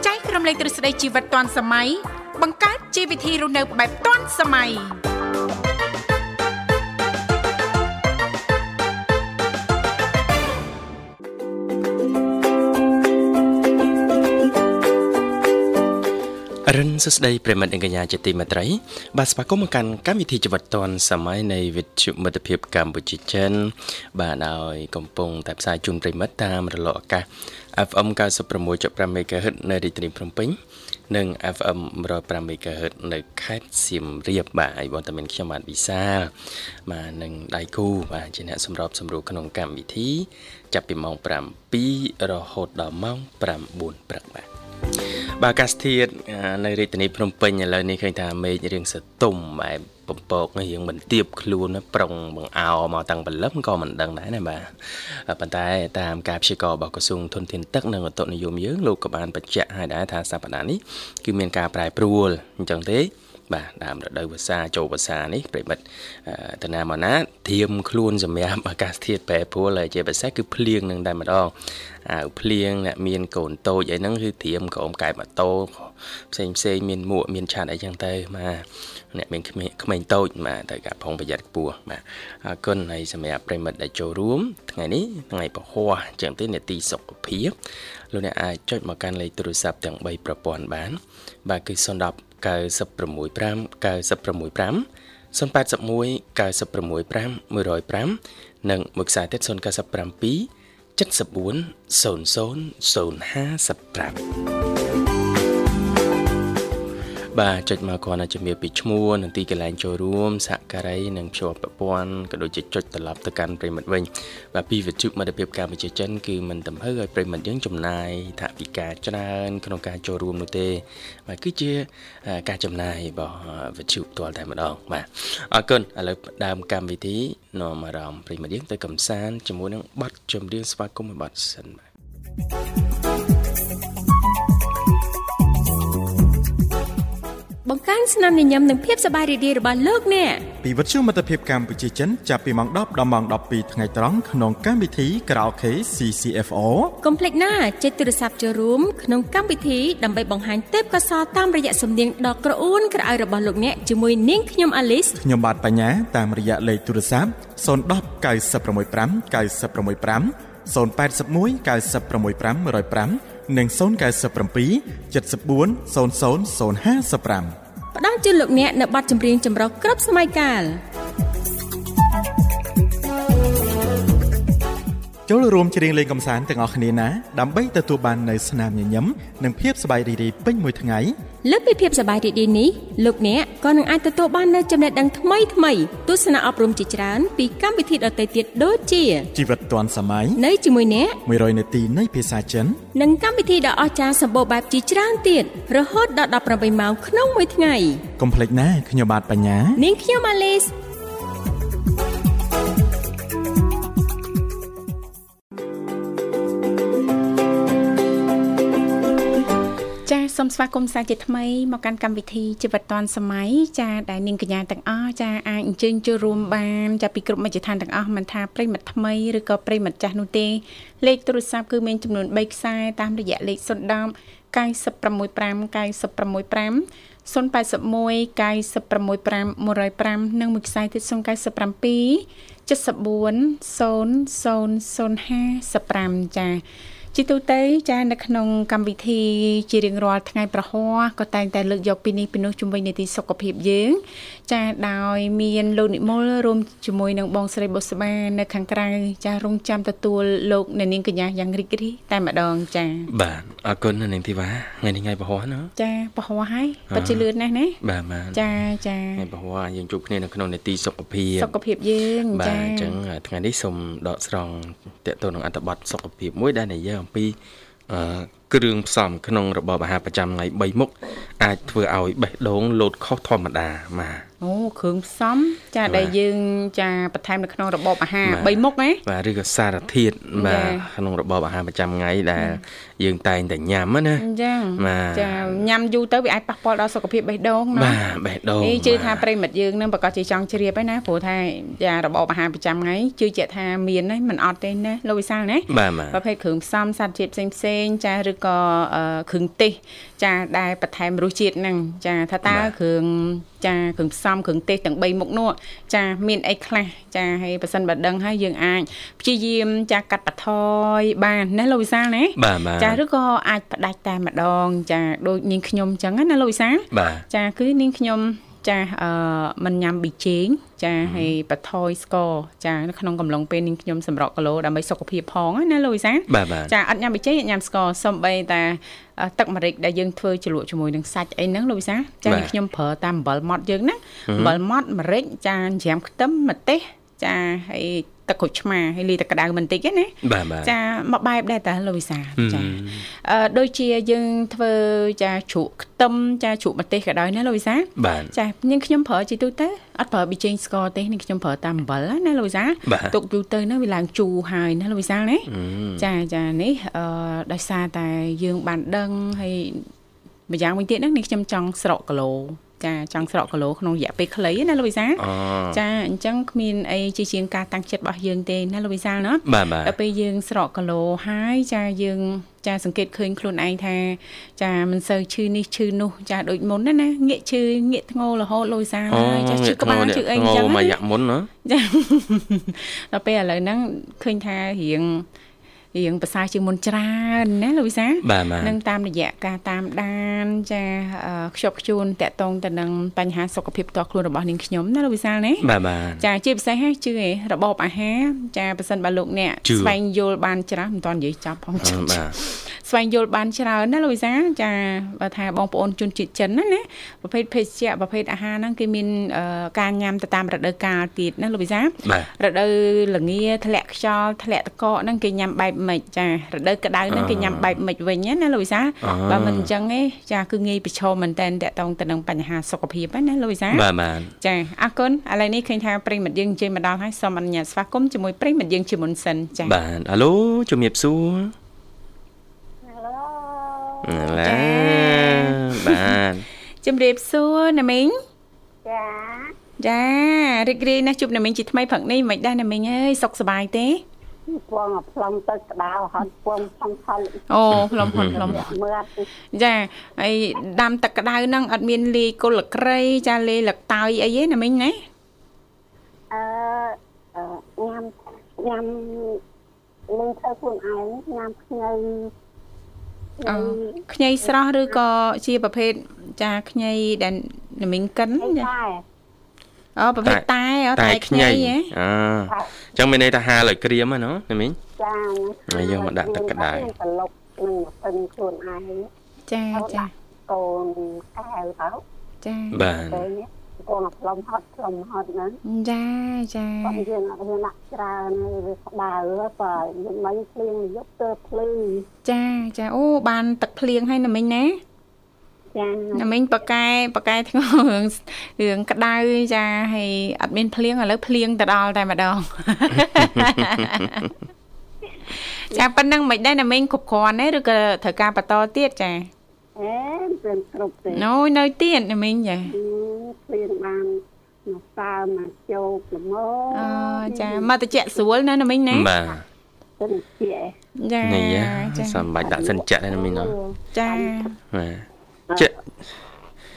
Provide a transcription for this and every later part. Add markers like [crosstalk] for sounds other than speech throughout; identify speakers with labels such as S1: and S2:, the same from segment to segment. S1: នៃទ្រឹស្ដីជីវិតទាន់សម័យបង្កើតជីវវិធីរស់នៅបែបទាន់សម័យ
S2: រិនសស្ដីប្រិមិត្តនិងកញ្ញាជាទីមេត្រី បាទស្វាគមន៍មកកាន់កម្មវិធីជីវិតឌွန်សម័យនៃវិទ្យុមិត្តភាពកម្ពុជាចិន បាទហើយកំពុងតែផ្សាយជូនប្រិមិត្តតាមរលកអាកាស FM 96.5 MHz នៅរាជធានីភ្នំពេញនិង FM 105 MHz នៅខេត្តសៀមរាបបាទហើយបងតាមានខ្ញុំបាទវិសាលបាទនឹងដៃគូបាទជាអ្នកសម្របសម្រួលក្នុងកម្មវិធី ចាប់ពីម៉ោង7រហូតដល់ម៉ោង9ព្រឹកបាទ បាទអាកាសធាតុនៅរាជធានីភ្នំពេញឥឡូវនេះឃើញថាមេឃរៀងសទុំបែបបំពករៀងបន្ទាបខ្លួនប្រុងបង្អោមកតាំងព្រលឹមក៏មិនដឹងដែរណាបាទប៉ុន្តែតាមការព្យាករណ៍របស់ក្រសួងធនធានទឹកនិងឧតុនិយមយើងលោកក៏បានបញ្ជាក់ឲ្យដែរថាសប្តាហ៍នេះគឺមានការប្រែប្រួលអញ្ចឹងទេ បាទដើមរដូវវស្សាចូលវស្សានេះប្រិមិត្តអឺតាណាមកណាធៀមខ្លួនសម្រាប់អាកាសធាតុប្រែប្រួលហើយជាពិសេសគឺភ្លៀងនឹងតែម្ដងអាវភ្លៀងអ្នកមានកូនតូចអីហ្នឹងគឺធៀមក្រោមកែបម៉ូតូផ្សេងផ្សេងមានមួកមានឆ័ត្រអីចឹងទៅបាទអ្នកមានក្មេងក្មេងតូចបាទត្រូវការប្រុងប្រយ័ត្នខ្ពស់បាទអរគុណហើយសម្រាប់ប្រិមិត្តដែលចូលរួមថ្ងៃនេះថ្ងៃពហុអញ្ចឹងទេនេតិសុខភាពលោកអ្នកអាចចុចមកកាន់លេខទូរស័ព្ទទាំង3ប្រព័ន្ធបាន បាទគឺ010 965 965 081 965 105និងមួយខ្សែទៀត097 74 0055បាទចុចមកគ្រាន់តែជំរាបពីឈ្មោះនិងទីកន្លែងចូលរួមសហការីនិងភ្ជាប់ប្រព័ន្ធក៏ដូចជាចុចត្រឡប់ទៅកាន់ប្រិមិត្តវិញបាទពីវិទ្យុមិត្តភាពកម្ពុជាចិនគឺមិនទំហើឲ្យប្រិមិត្តយើងចំណាយថវិកាច្រើនក្នុងការចូលរួមនោះទេបាទគឺជាអ่าការចំណាយរបស់វិទ្យុផ្ទាល់តែម្ដងបាទអរគុណឥឡូវផ្ដើមកម្មវិធីនាំអារម្មណ៍ប្រិមិត្តយើងទៅកំសាន្តជាមួយនឹងបទចម្រៀងស្វាគមន៍មួយបទសិនបាទ
S3: បង្កើនស្នាមញញឹមនិងភាពសប្បាយរីករាយរបស់លោកអ្នក
S4: ពីវិទ្យុមិត្តភាពកម្ពុជាចិនចាប់ពីម៉ោង10ដល់ម៉ោង12ថ្ងៃត្រង់ក្នុងកម្មវិធី Karaoke CCFO
S3: កុំភ្លេចណាចុចទូរស័ព្ទចូលរួមក្នុងកម្មវិធីដើម្បីបង្ហាញទេពកោសល្យតាមរយៈសំនៀងដ៏ក្រអួនក្រអៅរបស់លោកអ្នកជាមួយនាងខ្ញុំអាលីស
S4: ខ្ញុំបាទបញ្ញាតាមរយៈលេខទូរស័ព្ទ010 965 965 081 965 105និង097 74 00055
S3: ផ្ដល់ជូនលោកអ្នកនៅប័ណ្ណចម្រៀងចម្រុះគ្រប់សម័យកាល
S4: ចូលរួមច្រៀងលេងកំសាន្តទាំងអស់គ្នាណាដើម្បីទទួលបាននូវស្នាមញញឹមនិងភាពសប្បាយរីករាយពេញមួយថ្ងៃ
S3: លើសពីភាពសប្បាយរីករាយនេះលោកអ្នកក៏នឹងអាចទទួលបាននូវចំណេះដឹងថ្មីថ្មីទស្សនៈអប់រំជាច្រើនពីកម្មវិធីដទៃទៀតដូចជា
S4: ជីវិតទាន់សម័យ
S3: នៅជាមួយអ្នក
S4: 100នាទីនៃភាសាចិន
S3: នឹងកម្មវិធីដ៏អស្ចារ្យសម្បូរបែបជាច្រើនទៀតរហូតដល់18ម៉ោងក្នុងមួយថ្ងៃ
S4: កុំភ្លេចណាខ្ញុំបាទបញ្ញា
S3: នាងខ្ញុំម៉ាលីស
S1: ចាសសូមស្វាគមន៍សាជាថ្មីមកកាន់កម្មវិធីជីវិតឌွန်សម័យចាសដែលនាងកញ្ញាទាំងអស់ចាសអាចអញ្ជើញចូលរួមបានចាសពីគ្រប់មជ្ឈដ្ឋានទាំងអស់មិនថាប្រិយមិត្តថ្មីឬក៏ប្រិយមិត្តចាស់នោះទេលេខទូរស័ព្ទគឺមានចំនួន3ខ្សែតាមរយៈលេខ010 965 965 081 965 105និងមួយខ្សែទៀត097 74 0055ចា៎ជាទូទៅចា នៅក្នុងកម្មវិធីជារៀងរាល់ថ្ងៃប្រហ័សក៏តែងតែលើកយកពីនេះពីនោះជំវិញនីតិសុខភាពយើង ចាដោយមានលោកនិមលរួមជាមួយនឹងបងស្រីបុស្បានៅខាងក្រៅចារងចាំទទួលលោកអ្នកនាងកញ្ញាយ៉ាងរីករាយតែម្ដងចា
S2: បាទអរគុណនៅនាងធីវ៉ាថ្ងៃនេះថ្ងៃពហុណា
S1: ចាប្រហ័សហើយពិតជាលឿនណាស់ណា
S2: បាទបាទ
S1: ចាចា
S2: ថ្ងៃពហុយើងជួបគ្នានៅក្នុងនេតិសុខភាព
S1: សុខភាពយើងចា
S2: បាទអញ្ចឹងថ្ងៃនេះសូមដកស្រង់តកតទៅនឹងអត្ថបទសុខភាពមួយដែលនិយាយអំពីអឺគ្រឿងផ្សំក្នុងរបបអាហារប្រចាំថ្ងៃ3មុខអាចធ្វើឲ្យបេះដូងលោតខុសធម្មតាបាទ
S1: អូគ្រឿងផ្សំចា
S2: បាទ
S1: ដែលយើងចាបន្ថែមនៅក្នុងរបបអាហារ3មុខណា
S2: បាទឬក៏សារធាតុបា
S1: ចា៎
S2: ទក្នុងរបបអាហារប្រចាំថ្ងៃដែលយើងតែងតែញ៉ាំហ្នឹងណា
S1: អញ្ចឹង
S2: បាទ
S1: ចាញ៉ាំយូរទៅវាអាចប៉ះពាល់ដល់សុខភាពបេះដូងណា
S2: បាទបេះដូង
S1: នេះជឿថា
S2: បាទ
S1: ប្រិមិត្តយើងនឹងប្រកាសជាចង់ជ្រាបហើយណាព្រោះថាចារបបអាហារប្រចាំថ្ងៃជឿជាក់ថាមានហើយមិនអត់ទេណាលោកវិសាលណា
S2: បាទបាទ
S1: ប្រភេទគ្រឿងផ្សំសារធាតុផ្សេងផ្សេងៗចាឬ ក៏អឺគ្រឿងទេសចាដែលបន្ថែមរសជាតិហ្នឹងចាថាតើ
S2: បាទ
S1: គ្រឿងចាគ្រឿងផ្សំគ្រឿងទេសទាំង3មុខនោះចាមានអីខ្លះចាហើយប៉ះសិនបើដឹងហើយយើងអាចព្យាយាមចាកាត់បន្ថយបានណាលោកវិសាលណា
S2: បាទបាទ
S1: ចាឬក៏អាចផ្ដាច់តែម្ដង ចាដូចនាងខ្ញុំអញ្ចឹងណាលោកវិសាល
S2: បាទ
S1: ចាគឺនាងខ្ញុំចាអឺមិនញ៉ាំប៊ីចេងចាហើយបថយស្ករចានៅក្នុងកំឡុងពេលនាងខ្ញុំសម្រក់គីឡូដើម្បីសុខភាពផងណាលោកវិសាល
S2: បាទបាទ
S1: ចាអត់ញ៉ាំប៊ីចេងអត់ញ៉ាំស្ករសំបីតែអឺទឹកម្រេចដែលយើងធ្វើជ្រលក់ជាមួយនឹងសាច់អីហ្នឹងលោកវិសាលចានាងខ្ញុំប្រើតាមអំបិលម៉ត់យើងណាអំបិលម៉ត់ម្រេចចាច្រាមខ្ទឹមម្ទេសចាហើយទឹកក្រូចឆ្មាហើយលាយទឹកក្តៅបន្តិចហ្នឹងណា
S2: បាទបាទ
S1: ចាមកបែបដែរតាលោកវិសាចាអឺដូចជាយើងធ្វើចាជ្រក់ខ្ទឹមចាជ្រក់ម្ទេសក៏ដោយណាលោកវិសា
S2: បាទ
S1: ចាញៀងខ្ញុំប្រើជីទូទៅអត់ប្រើប៊ីចេងស្ករទេញៀងខ្ញុំប្រើតាមអំបិលណាលោកវិសា
S2: បាទ
S1: ទុកយូរទៅណាវាឡើងជូរហើយណាលោកវិសាណាចាចានេះអឺដោយសារតែយើងបានដឹងហើយម្យ៉ាងវិញទៀតហ្នឹងញៀងខ្ញុំចង់ស្រក់គីឡូចាចង់ស្រក់គីឡូក្នុងរយៈពេលខ្លីណាលោកវិសា
S2: អូ
S1: ចាអញ្ចឹងគ្មានអីជាជាងការតាំងចិត្តរបស់យើងទេណាលោកវិសាណា
S2: បាទបាទ
S1: ដល់ពេលយើងស្រកគីឡូហើយចាយើងចាសង្កេតឃើញខ្លួនឯងថា ចាមិនសូវឈឺនេះឈឺនោះចាដូចមុនណាណាងាកឈឺងាកធ្ងររហូតលុយសា
S2: អូ
S1: ហើយចាឈឺក្បាលឈឺអីអញ្ចឹង
S2: ម
S1: ណា
S2: ករយៈមុនណា
S1: ចាដល់ពេលឥឡូវហ្នឹងឃើញថារៀងរៀងប្រសើរជាងមុនច្រើនណាលុយសា
S2: បាទបាទ
S1: នឹងតាមរយៈការតាមដានចាអឺខ្ជាប់ខ្ជួនតកតងទៅនឹងបញ្ហាសុខភាពផ្ទាល់ខ្លួនរបស់នាងខ្ញុំណាលោកវិសាលណា
S2: បាទបាទ
S1: ចាជាពិសេសហ្នឹងជឿឯងរបបអាហារចាប៉ះសិនបើលោកអ្នកស្វែងយល់បានច្រើនមិនតន់និយាយចប់ផង
S2: អឺបាទ
S1: ស្វែងយល់បានច្រើនណាលោកវិសាលចាបើថាបងប្អូនជនជាតិចិនណាណាប្រភេទភេសជ្ជៈប្រភេទអាហារហ្នឹងគេមានអឺការញ៉ាំទៅតាមរដូវកាលទៀតណាលោកវិសាល
S2: បាទ
S1: រដូវល្ងាធ្លាក់ខ្យល់ធ្លាក់ទឹកកកហ្នឹងគេញ៉ាំបែបម៉េចចារដូវក្តៅហ្នឹងគេញ៉ាំបែបម៉េចវិញណាណាលោកវិសាល
S2: អឺ
S1: បើមិនអញ្ចឹងទេចាគឺងាយប្រឈមមែនតើតកតងទៅនឹងបញ្ហាសុខភាពហ្នឹងណាលោកវិសាល
S2: បាទបាទ
S1: ចាអរគុណឥឡូវនេះឃើញថាប្រិយមិត្តយើងជិះមកដល់ហើយសូមអនុញ្ញាតស្វាគមន៍ជាមួយប្រិយមិត្តយើងជាមុនសិនចា
S2: បាទអាឡូជំរាបសួរអាឡូបាទ
S1: ជំរាបសួរណាមីង
S5: ចា
S1: ចារីករាយណាស់ជួបណាមីងជាថ្មីផឹកនេះមិនដែរណាមីងអើយសុខសប្បាយទេ
S5: ពងអាប្លង់ទៅក្តៅហត់ពងផងថល
S1: អូផ្លុំផ្លុំផ្លុំ
S2: [laughs]
S5: មើលទៅ
S1: ចាហើយដាំទឹកក្តៅហ្នឹងអត់មានលីគល់លក្រៃចាលេលកតើយអីទេណាមីងណា
S5: អឺអឺញ៉ាំញ៉ាំលឺទៅខ្លួនឯងញ៉ាំខ្ញី
S1: អឺខ្ញីស្រស់ឬក៏ជាប្រភេទចាខ្ញីដែលណាមីងកិន
S5: អី
S1: ចា
S5: ដែរ
S1: អូប្រភេទតែអូ
S2: តែ
S1: តែ
S2: ខ្
S1: ខ្ញីហ៎
S2: ញីអឺអញ្ចឹងមានន័យថាហាលឲ្យក្រៀមហ្នឹងណាមីង
S5: ចា
S2: ហើយយើងមកដាក់ទឹកក្តៅ
S5: សន្លប់នឹងពឹងខ្លួនឯង
S1: ចាចា
S5: កូនកែវទៅ
S1: ចា
S2: បាទ
S5: ពេលនេះពងអាប្លង់ហត់ប្លង់ហត់ហ្នឹង
S1: ចាចា
S5: បងយើងអត់មានដាក់ច្រើនហើយវាក្តៅហើយបើយើងមិនភ្លៀងយប់ទៅភ្លឺ
S1: ចាចាអូបានទឹកភ្លៀងហើយណាមិញណា
S5: ចា
S1: ណាមិញប៉កែប៉កែធ្ងររឿងរឿងក្តៅចាហើយអត់មានភ្លៀងឥឡូវភ្លៀងទៅដល់តែ [laughs] ម្ដង ចាប៉ុណ្ណឹងមិនដែរណាមិញគ្រប់គ្រាន់ទេឬក៏ត្រូវការបន្តទៀតចា
S5: អេមិនគ្រប់ទេ
S1: ណូយនៅទៀតណាមិញចា
S5: ព្រៀនបានមកសើមកជោគល្មម
S1: អូចាមកតិចស្រួលណាណាមិញណា
S2: បាទ
S5: ទៅជា
S1: ចា
S2: នេះយ៉ា
S1: ចា
S2: សំបាច់ដាក់សិនចាក់ហ្នឹងមីងណា
S1: [laughs] ចា
S2: បាទចាក់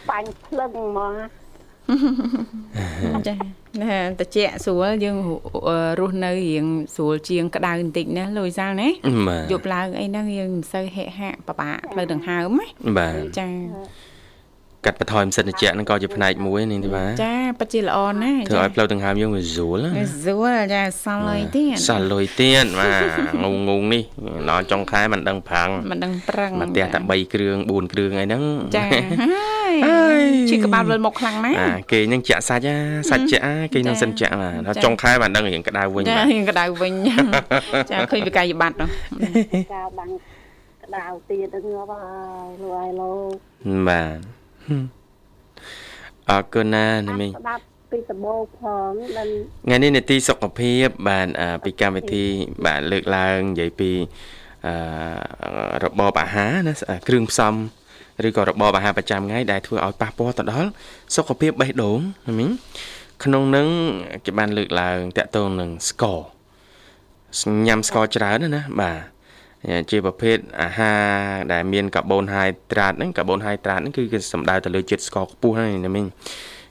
S5: បាញ់ភ្លឹងមក
S1: ចាណាតិចស្រួលយើងរស់នៅរៀងស្រួលជាងក្តៅបន្តិចណាលោកវិសាលណា
S2: បា
S1: យ
S2: ទ
S1: ប់ឡើងអីហ្នឹងយើងមិនសូវហិហាក់បបាក់ផ្លូវដង្ហើមណា
S2: បាទ
S1: ចា
S2: កាត់បន្ថយមិនសិនត្រជាក់ហ្នឹងក៏ជាផ្នែកមួយនេះទេបាទ
S1: ចាពិតជាល្អណាស់
S2: ធ្វើឲ្យផ្លូវដង្ហើមយើងវាស្រួលណា
S1: ស្រួលចាសល់អីទៀត
S2: សាលុយ [laughs] ទៀតបាទងងងនេះដល់ចុងខែមិនដឹងប្រាំង
S1: មិនដឹងប្រឹង
S2: មកផ្ទះតែ3គ្រឿង4គ្រឿងអីហ្នឹង
S1: ចាហើយជិះក្បាលវិលមកខ្លាំងណាស់
S2: [laughs] អាគេងហ្នឹងចាក់សាច់អាសាច់ចាក់អាគេងហ្នឹងសិនចាក់អាដល់ចុងខែបានដឹងរៀងក្តៅវិញ
S1: ចា
S2: បាទ
S1: យើងកដៅ
S2: [laughs]
S1: វិញ ចាឃើញវិក័យប័ត្រនោះ
S5: កៅបាញ់ក្តៅទៀតទៅងាប់ហើយលោកអាយលោក
S2: បាទ [laughs] អរគុណណាណាមីង
S5: ស្ដាប់ពីសបោផងដឹង
S2: ថ្ងៃនេះនេតិសុខភាពបានអ่าពីកម្មវិធីបាទលើកឡើងនិយាយពីអឺរបបអាហារណាអ่าគ្រឿងផ្សំឬក៏របបអាហារប្រចាំថ្ងៃដែលធ្វើឲ្យប៉ះពាល់ទៅដល់សុខភាពបេះដូងណាមីង ក្នុងនឹងគេបានលើកឡើងតាក់ទងនឹងស្ករញ៉ាំស្ករច្រើនណាស់ណាបាទ ជាប្រភេទអាហារដែលមានកាបូនហៃដ្រាតហ្នឹងកាបូនហៃដ្រាតហ្នឹងគឺគេសំដៅទៅលើជាតិស្ករខ្ពស់ហ្នឹងណាមីង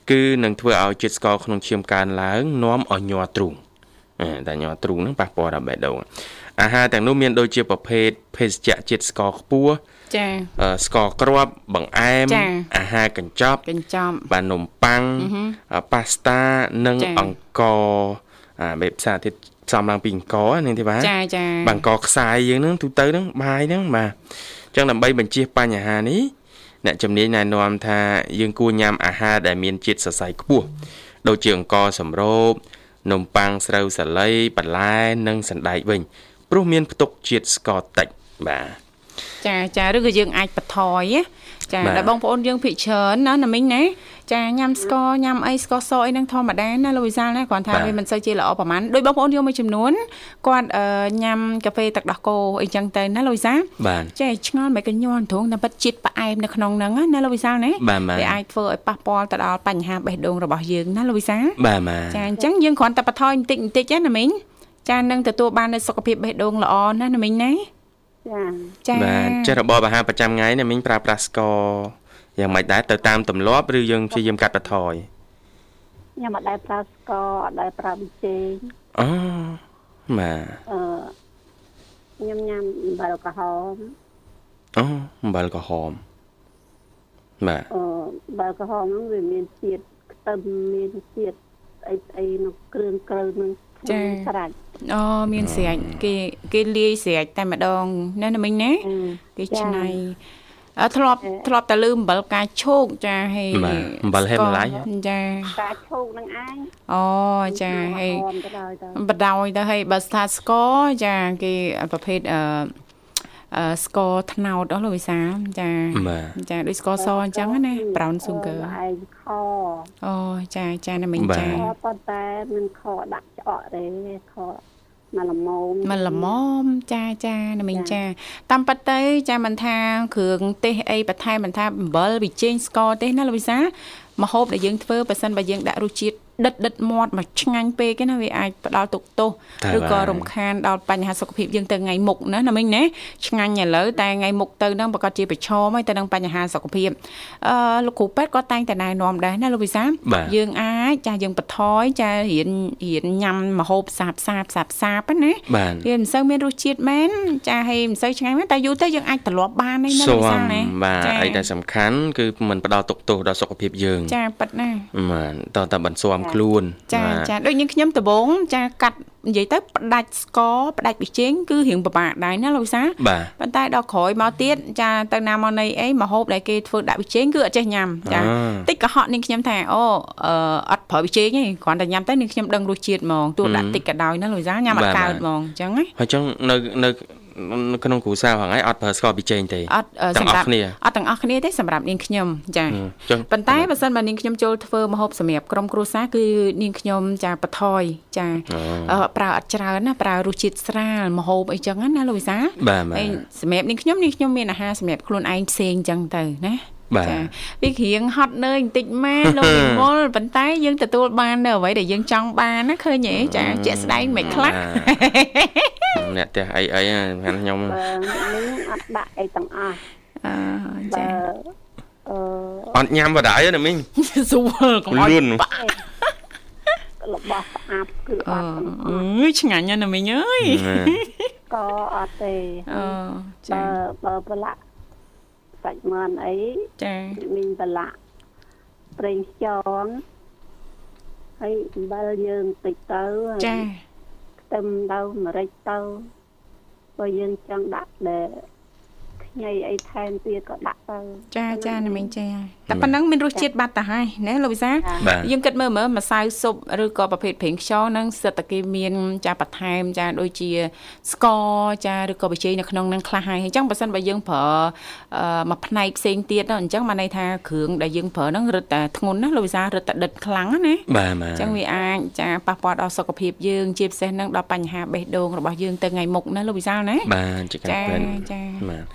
S2: គឺនឹងធ្វើឲ្យជាតិស្ករក្នុងឈាមកើនឡើងនាំឲ្យញ័រទ្រូងអឺតែញ័រទ្រូងហ្នឹងប៉ះពាល់ដល់បេះដូងអាហារទាំងនោះមានដូចជាប្រភេទភេសជ្ជៈជាតិស្ករខ្ពស់
S1: ចា
S2: អឺស្ករគ្រាប់បង្អែម
S1: ចា
S2: អាហារកញ្ចប់
S1: កញ្ចប់
S2: បាទនំប៉័ងអ่าប៉ាស្តានិង
S1: ចា៎
S2: អង្ករអាបែបផ្សារទៀតផ្សំឡើងពីអង្ករហ្នឹងទេបាទ
S1: ចាចា
S2: បាទអង្ករខ្សាយយើងហ្នឹងទូទៅហ្នឹងបាយហ្នឹងបាទអញ្ចឹងដើម្បីបញ្ជៀសបញ្ហានេះអ្នកជំនាញណែនាំថាយើងគួរញ៉ាំអាហារដែលមានជាតិសរសៃខ្ពស់ដូចជាអង្ករសម្រូបនំប៉័ងស្រូវសាលីបន្លែនិងសណ្តែកវិញព្រោះមានផ្ទុកជាតិស្ករតិចបាទ
S1: ចាចាឬក៏យើងអាចបន្ថយណាចា
S2: បាទ
S1: ដល់បងប្អូនយើងភិកច្រើនណាណាមីងណាចាញ៉ាំស្ករញ៉ាំអីស្ករសអីហ្នឹងធម្មតាណាលោកវិសាលណាគ្រាន់ថាវាមិនសូវជាល្អប្រហែលដោយបងប្អូនយើងមួយចំនួនគាត់អឺញ៉ាំកាហ្វេទឹកដោះគោអីចឹងទៅណាលោកវិសាល
S2: បាទ
S1: ចេះឆ្ងល់មិនកញ្ញល់ត្រង់តែប៉ិតជាតិផ្អែមនៅក្នុងហ្នឹងណាលោកវិសាលណា
S2: បាទបាទ
S1: វាអាចធ្វើឲ្យប៉ះពាល់ទៅដល់បញ្ហាបេះដូងរបស់យើងណាលោកវិសាល
S2: បាទម៉ា
S1: ចាអញ្ចឹងយើងគ្រាន់តែបន្ថយបន្តិចបន្តិចណាមីងចានឹងទទួលបាននូវសុខភាពបេះដូងល្អណាណាមីងណាចា
S5: ចា
S2: បាទចេះរបបអាហារប្រចាំថ្ងៃនេះមិញប្រើប្រាស់ស្ករយ៉ាងម៉េចដែរទៅតាមទម្លាប់ឬយើងព្យាយាមកាត់បន្ថយ
S5: ញ៉ាំអត់ដែលប្រើស្ករអត់ដែលប្រើប៊ីចេង
S2: អូបាទ
S5: អឺញ៉ាំញ៉ាំអំបិលក្រហម
S2: អូអំបិលក្រហមបាទ
S5: អឺអំបិលក្រហមហ្នឹងវាមានជាតិខ្ទឹមមានជាតិស្អីស្អីនៅគ្រឿងក្រៅហ្នឹងខ្ញុំស្រេច
S1: អូមានស្រាច់គេគេលាយស្រាច់តែម្ដងណាណាមីងណា
S5: អឺ
S1: គេ
S5: ចា
S1: ច្នៃអើធ្លាប់ធ្លាប់តែលើអំបិលផ្កាឈូកចាហើយ
S2: បាទអំបិលហេមឡាយ
S1: ចា
S5: កាឈូកហ្នឹងឯង
S1: អូចា
S5: ញ៉ាំ
S1: ហើយ
S5: អមទៅដល់
S1: បដ ாய்
S5: ទៅ
S1: ទៅហើយបើស្ថាស្ករចាគេប្រភេទអឺអឺស្ករត្នោតអស់លោកវិសាលចា
S2: បាទ
S1: ចាដូចស្ករសអញ្ចឹងណា brown sugar
S5: អឯងខ
S1: អូចាចាណាមិញ
S2: បាទ
S1: ចា
S5: ខប៉ុន្តែមិនខដាក់ឆ្អកទេខមកល្មម
S1: មិនល្មមចាចាណាមិញ
S5: ចា
S1: ចា តាមប៉ាត់ទៅចាមិនថាគ្រឿងទេសអីបន្ថែមមិនថាអំបិលវិជែងស្ករទេសណាលោកវិសាលមហូបដែលយើងធ្វើបើសិនបើយើងដាក់រសជាតិដិតដិតមាត់មកឆ្ងាញ់ពេកឯណាវាអាចផ្ដល់ទុកទោស
S2: តែ
S1: ឬក៏
S2: បាទ
S1: រំខានដល់បញ្ហាសុខភាពយើងទៅថ្ងៃមុខណាណាមិញណាឆ្ងាញ់ឥឡូវតែថ្ងៃមុខទៅហ្នឹងប្រកាសជាប្រឈមហើយទៅនឹងបញ្ហាសុខភាពអឺលោកគ្រូពេទ្យគាត់តែងតែណែនាំដែរណាលោកវិសាល
S2: បាទ
S1: យើងអាចចាយើងបន្ថយចារៀនរៀនញ៉ាំម្ហូបសាបសាបសាបសាបហ្នឹងណា
S2: បាទ
S1: វាមិនសូវមានរសជាតិមែនចាហើយមិនសូវឆ្ងាញ់មែនតែយូរទៅយើងអាចត្រឡប់បានឯណា
S2: សូ
S1: លោកវិសា
S2: ម
S1: លណា
S2: បាទអីដែល
S1: ច
S2: សំខាន់គឺมันផ្ដល់ទុកទោសដល់សុខភាពយើង
S1: ចាប៉ិតណា
S2: បាទតោះតែបន្ស៊ាំខ្លួន
S1: ចា
S2: បាទ
S1: ចាដូចនឹងខ្ញុំដំបងចាកាត់និយាយទៅផ្ដាច់ស្ករផ្ដាច់ប៊ីចេងគឺរៀងពិបាកដែរណាលោកវិសាល
S2: បាទ
S1: ប៉ុន្តែដល់ក្រោយមកទៀតចាទៅណាមកណីអីមកហូបដែលគេធ្វើដាក់ប៊ីចេងគឺអត់ចេះញ៉ាំចា
S2: អ่า
S1: តិចក៏ហក់នឹងខ្ញុំថាអូអឺអត់ប្រើប៊ីចេងទេគ្រាន់តែញ៉ាំទៅនឹងខ្ញុំដឹងរសជាតិហ្មងទោះដាក់តិចក៏ដោយណាលោកវិសាលញ៉ាំអ
S2: បាទ
S1: ត់កើត
S2: បាទ
S1: ហ្មងអញ្ចឹងណា
S2: ហើយចឹងនៅនៅនៅក្នុងគ្រួសារហ្នឹងឯងអត់ប្រើស្ករពីចេងទេ
S1: អត់អឺ
S2: ទាំ
S1: ស
S2: ងអស់
S1: ម្រាប់
S2: គ្នា
S1: អត់ទាំងអស់គ្នាទេសម្រាប់នាងខ្ញុំចា
S2: អឺចឹង
S1: ប៉ុន្តែបើសិនបើនាងខ្ញុំចូលធ្វើម្ហូបសម្រាប់ក្រុមគ្រួសារគឺនាងខ្ញុំចាបន្ថយចា អឺប្រើអត់ច្រើនណាប្រើរសជាតិស្រាលម្ហូបអីចឹងណាណាលោកវិសាល
S2: បាទបាទ
S1: ហើយសម្រាប់នេះខ្ញុំនេះខ្ញុំមានអាហារសម្រាប់ខ្លួនឯងផ្សេងចឹងទៅណា
S2: បាទ
S1: វាគ្រៀងហត់នឿយបន្តិចម៉ែន លោកវិមលប៉ុន្តែយើងទទួលបាននៅអ្វីដែលយើងចង់បានណាឃើញទេចាជាក់ស្ដែងមិនខ្លះ
S2: អ្នកផ្ទះអីអីហ្នឹង [laughs] ខ្ញុំ
S5: បើនេះអត់ដាក់អីទាំងអស់
S1: អឺចា
S5: បើអ
S2: អត់ញ៉ាំបណ្ដាយទេណាមីង
S1: ស្រួលកុំអោ
S2: លឿ
S1: យ
S2: ន
S1: បាក់
S5: ឺរបស់ស្អាប់គឺអ
S1: អឺ
S5: ត់ទាំងអស់
S1: អើយឆ្ងាញ់ណាស់ណាមីងអើយ [laughs]
S5: ក៏អត់ទេ
S1: អឺចា
S5: បើបើប្រឡាក់សាច់មាន់អី
S1: ចា
S5: មានប្រឡាក់ប្រេងខ្យងហើយអំបិលយើងតិចទៅហើយ
S1: ចា
S5: ខ្ទឹមទៅម្រេចទៅបើយើងចង់ដាក់ដែលខ្ញីអីថែមទៀតក៏ដាក់ទៅ
S1: ចាចាណាមីងចាតែប៉ុណ្ណឹងមានរសជាតិបាត់ទៅហើយណាលោកវិសាល
S2: បាទ
S1: យើងគិតមើលមើលម្សៅស៊ុបឬក៏ប្រភេទប្រេងខ្យងហ្នឹងសិតតែគេមានចាបន្ថែមចាដូចជាស្ករចាឬក៏ប៊ីចេងនៅក្នុងហ្នឹងខ្លះហើយអញ្ចឹងបើសិនបើយើងប្រើអឺមួយផ្នែកផ្សេងទៀតហ្នឹងអញ្ចឹងមកន័យថាគ្រឿងដែលយើងប្រើហ្នឹងរឹតតែធ្ងន់ណាលោកវិសាលរឹតតែដិតខ្លាំងណាណា
S2: បាទ
S1: អ
S2: បាទ
S1: ញ្ចឹងវាអាចចាប៉ះពាល់ដល់សុខភាពយើងជាពិសេសហ្នឹងដល់បញ្ហាបេះដូងរបស់យើងទៅថ្ងៃមុខណាលោកវិសាលណា
S2: បាទជាការ
S1: ចាចា
S2: ពិតបាទ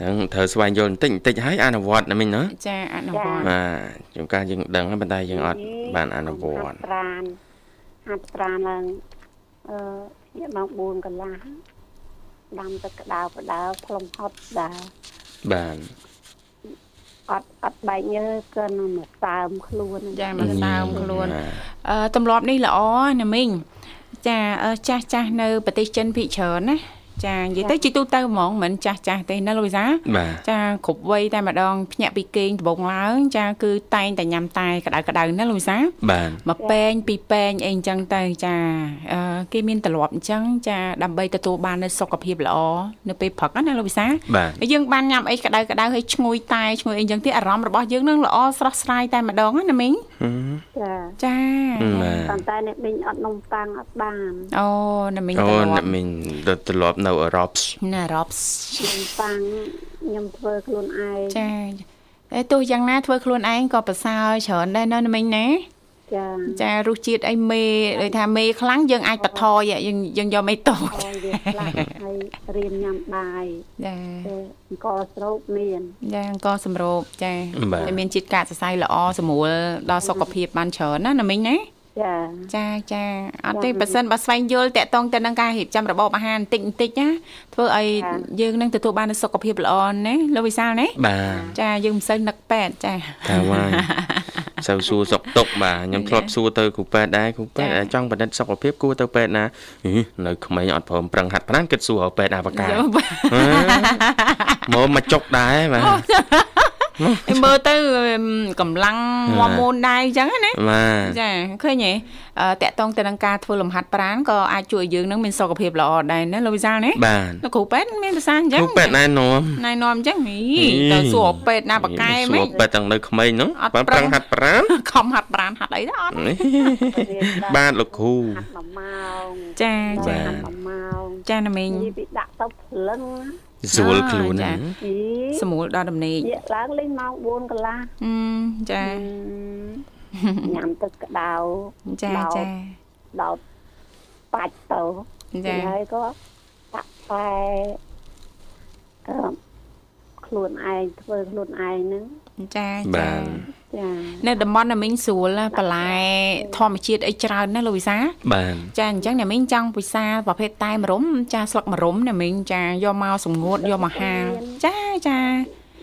S2: ទាំងត្រូវស្វែងយល់បន្តិចបន្តិចហើយអនុវត្តណាមិញណា
S1: ចាអនុវត្ត
S2: បាទជួនកាលយើងដឹងហើយប៉ុន្តែយើងអត់បានអនុវត្ត
S5: ហាត់ប្រានហាត់ប្រានឡើងអឺជាម៉ោង4កន្លះ ដាំទឹកក្តៅផ្តៅផ្លុំហត់ដែរ
S2: បាទ
S5: អត់អត់បែកញើគឺនឹងមកសើមខ្លួន
S1: ចាមកសើមខ្លួន
S2: បាទ
S1: អឺទម្លាប់នេះល្អណាមីងចាអឺចាស់ចាស់នៅប្រទេសចិនភាគច្រើនណាចានិយាយទៅជីទូទៅហ្មងមិនចាស់ចាស់ទេណាលូយសា
S2: បាទ
S1: ចាគ្រប់វ័យតែម្ដងភ្ញាក់ពីគេងដំបងឡើង ចាគឺតែងតែញ៉ាំតែក្តៅក្តៅណាលូយសា
S2: បាទ
S1: មកពេងពីពេងអីអញ្ចឹងទៅចាអឺគេមានទ្រលាប់អញ្ចឹងចាដើម្បីទទួលបាននូវសុខភាពល្អនៅពេលព្រឹកណាលោកវិសា
S2: បាទ
S1: ហើយយើងបានញ៉ាំអីក្តៅក្តៅហើយឈ្ងុយតែឈ្ងុយអីអញ្ចឹងទៀតអារម្មណ៍របស់យើងនឹងល្អស្រស់ស្រាយតែម្ដងណាណាមីង
S5: ចា
S1: ចា
S2: បាទ
S5: ប៉ុន្តែអ្នកមីងអត់នំប៉័ងអត់បាន
S1: អូណាមីង
S2: អូ
S1: ទ្រលា
S2: អ្នក
S1: ប់
S2: មីងទៅទ្រលាប់នៅអឺរ៉ុប
S1: ណារ៉ប់
S5: នំប៉័ងខ្ញុំធ្វើខ្លួនឯង
S1: ចាតែទោះយ៉ាងណាធ្វើខ្លួនឯងក៏ប្រសើរច្រើនដែរណាណាមីងណា
S5: ចា
S1: ចារសជាតិអីមេដូចថាមេខ្លាំងយើងអាចបន្ថយយើងយើងយកមេតូច
S5: អរវាខ្លះ
S1: [laughs]
S5: ហើយរៀនញ៉ាំបាយ
S1: ចា
S5: ទេអង្គស្រោបមាន
S1: ចាអង្គសម្រូបចា
S2: បាទ
S1: ហើយមានជាតិកាកសរសៃល្អសម្រួលដល់សុខភាពបានច្រើនណាណាមីងណា
S5: ចា
S1: ចាចាអត់ទេប៉ះសិនបើស្វែងយល់តាក់ទងទៅនឹងការរៀបចំរបបអាហារបន្តិចបន្តិចណាធ្វើឲ្យយើងនឹងទទួលបាននូវសុខភាពល្អណាលោកវិសាលណា [laughs]
S2: បាទ
S1: ចាយើងមិនសូវនឹកប៉ែតចា
S2: តាវ៉ាយសូវសួរសុកទុកបាទខ្ញុំធ្លាប់សួរទៅគ្រូពេទ្យដែរគ្រូពេទ្យ
S1: ចា៎
S2: អាចចង់បណ្ឌិតសុខភាពគួរទៅពេទ្យណាហីនៅក្មេងអត់ព្រមប្រឹងហាត់ប្រាណគិតសួរឲ្យពេទ្យអាវកាហ៎
S1: យកបាទ
S2: [laughs] មកមកចុកដែរបាទ
S1: ឯមើលទៅអឹមកម្លាំងមមូនដែរអញ្ចឹងណា
S2: បាទ
S1: ចាឃើញទេអឺតាក់ទងទៅនឹងការធ្វើលំហាត់ប្រាណក៏អាចជួយឲ្យយើងនឹងមានសុខភាពល្អដែរណាលោកវិសាលណា
S2: បាទ
S1: លោកគ្រូពេទ្យមានភាសាអញ្ចឹង
S2: គ្រូពេទ្យណែនាំ
S1: ណែនាំអញ្ចឹងហី
S2: ហី
S1: ទៅសួរពេទ្យណាបកកែហ្ម [laughs]
S2: សួ
S1: ង
S2: រពេទ្យទាំងនៅក្មេងហ្នឹង
S1: អត់
S2: បាទ
S1: ប្រឹង
S2: ប្រឹងហាត់ប្រាណ
S1: ខំហាត់ប្រានហាត់អីទៅអត់
S5: រៀនដល់
S2: បាទលោកគ្រូ
S5: ហាត់មួយម៉ោង
S1: ចា
S2: ចា
S1: ចា
S5: ហាត់មួយម៉ោង
S1: ចាណាមីង
S5: និយាយពីដាក់ទៅព្រលឹងណា
S2: ស្រួលខ្លួនហ្នឹង
S5: អី
S1: ស្រួលដល់ដំណេក
S5: យាកឡើងលេងម៉ោង4កន្លះ
S1: [laughs] ហឹមចា
S5: ញ៉ាំទឹកក្តៅ
S1: ចា
S5: ដល់
S1: ចា
S5: ដោតបាច់ទៅ
S1: ចា
S5: ហើយក៏ដាក់ផ្លែអឺខ្លួនឯងធ្វើខ្លួនឯងហ្នឹង
S1: ចាចា
S2: បាទ
S5: ចា
S1: នៅតំបន់ណាមីងស្រួលណាបន្លែធម្មជាតិអីច្រើនណាលោកវិសា
S2: បាទ
S1: ចាអញ្ចឹងណាមីងចង់ពិសាប្រភេទតែម្រុំចាស្លឹកម្រុំណាមីងចាយកមកសម្ងួតយកមកហាលចាចា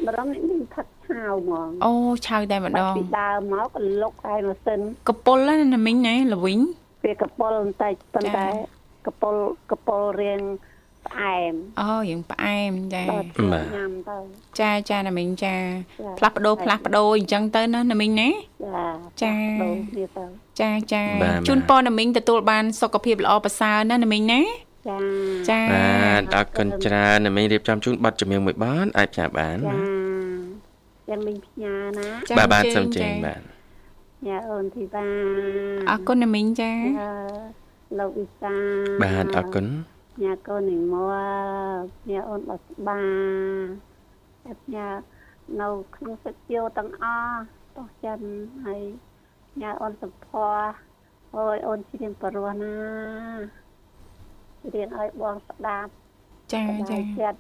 S5: បរមនេះមានផឹកឆៅហ្មង
S1: អូឆៅតែម្ដ
S5: បាត់
S1: ង
S5: ពីដើមមកក៏លុកឯម៉ាស៊ីន
S1: កពុលណាណាមីងណាល្វីង
S5: វាកប៉ុលបន្តិចប៉ុន្តែ
S1: ចា៎
S5: កប៉ុលកប៉ុលរៀងផ្អែម
S1: អូយើងផ្អែមចា
S5: ដល់ធ្វើញ៉ាំទៅ
S1: ចាចាណាមីងចា
S5: ចា
S1: ផ្លាស់ប្ដូរផ្លាស់ប្ដូរអញ្ចឹងទៅណាណាមីងណា ចា
S5: ចាផ្ដូរគ្នាទៅ
S1: ចាចា
S2: បាទ
S1: ជូនពរណាមីងទទួលបានសុខភាពល្អប្រសើរណាណាមីងណា
S5: ចា
S1: ចា
S5: ចា
S2: បាទដល់គុណច្រើនណាមីងរៀបចំជូនប័ណ្ណចម្រៀងមួយប័ណ្ណអាចផ្សាយបានណា
S5: យ៉ាងមិញផ្ញើណា
S1: ចា
S2: បាទបាទ
S1: ជើ
S2: សូមចេញបាទ
S5: ផ្ញើអូនធីតា
S1: អរគុណណាមីងចា
S5: ចាលោកវិសា
S2: បាទអរគុណ
S5: ផ្ញើកូននិមលផ្ញើអូនបស្បាហើយផ្ញើនៅក្នុងសិទ្ធិយោទាំងអស់ទោះចិនហើយផ្ញើអូនសុភ័ក្រអូយអូនជិះបរោះណារៀនឲ្យបងស្ដាប់
S1: ចា
S5: កម្ដៅ
S1: ចា
S5: ចិត្ត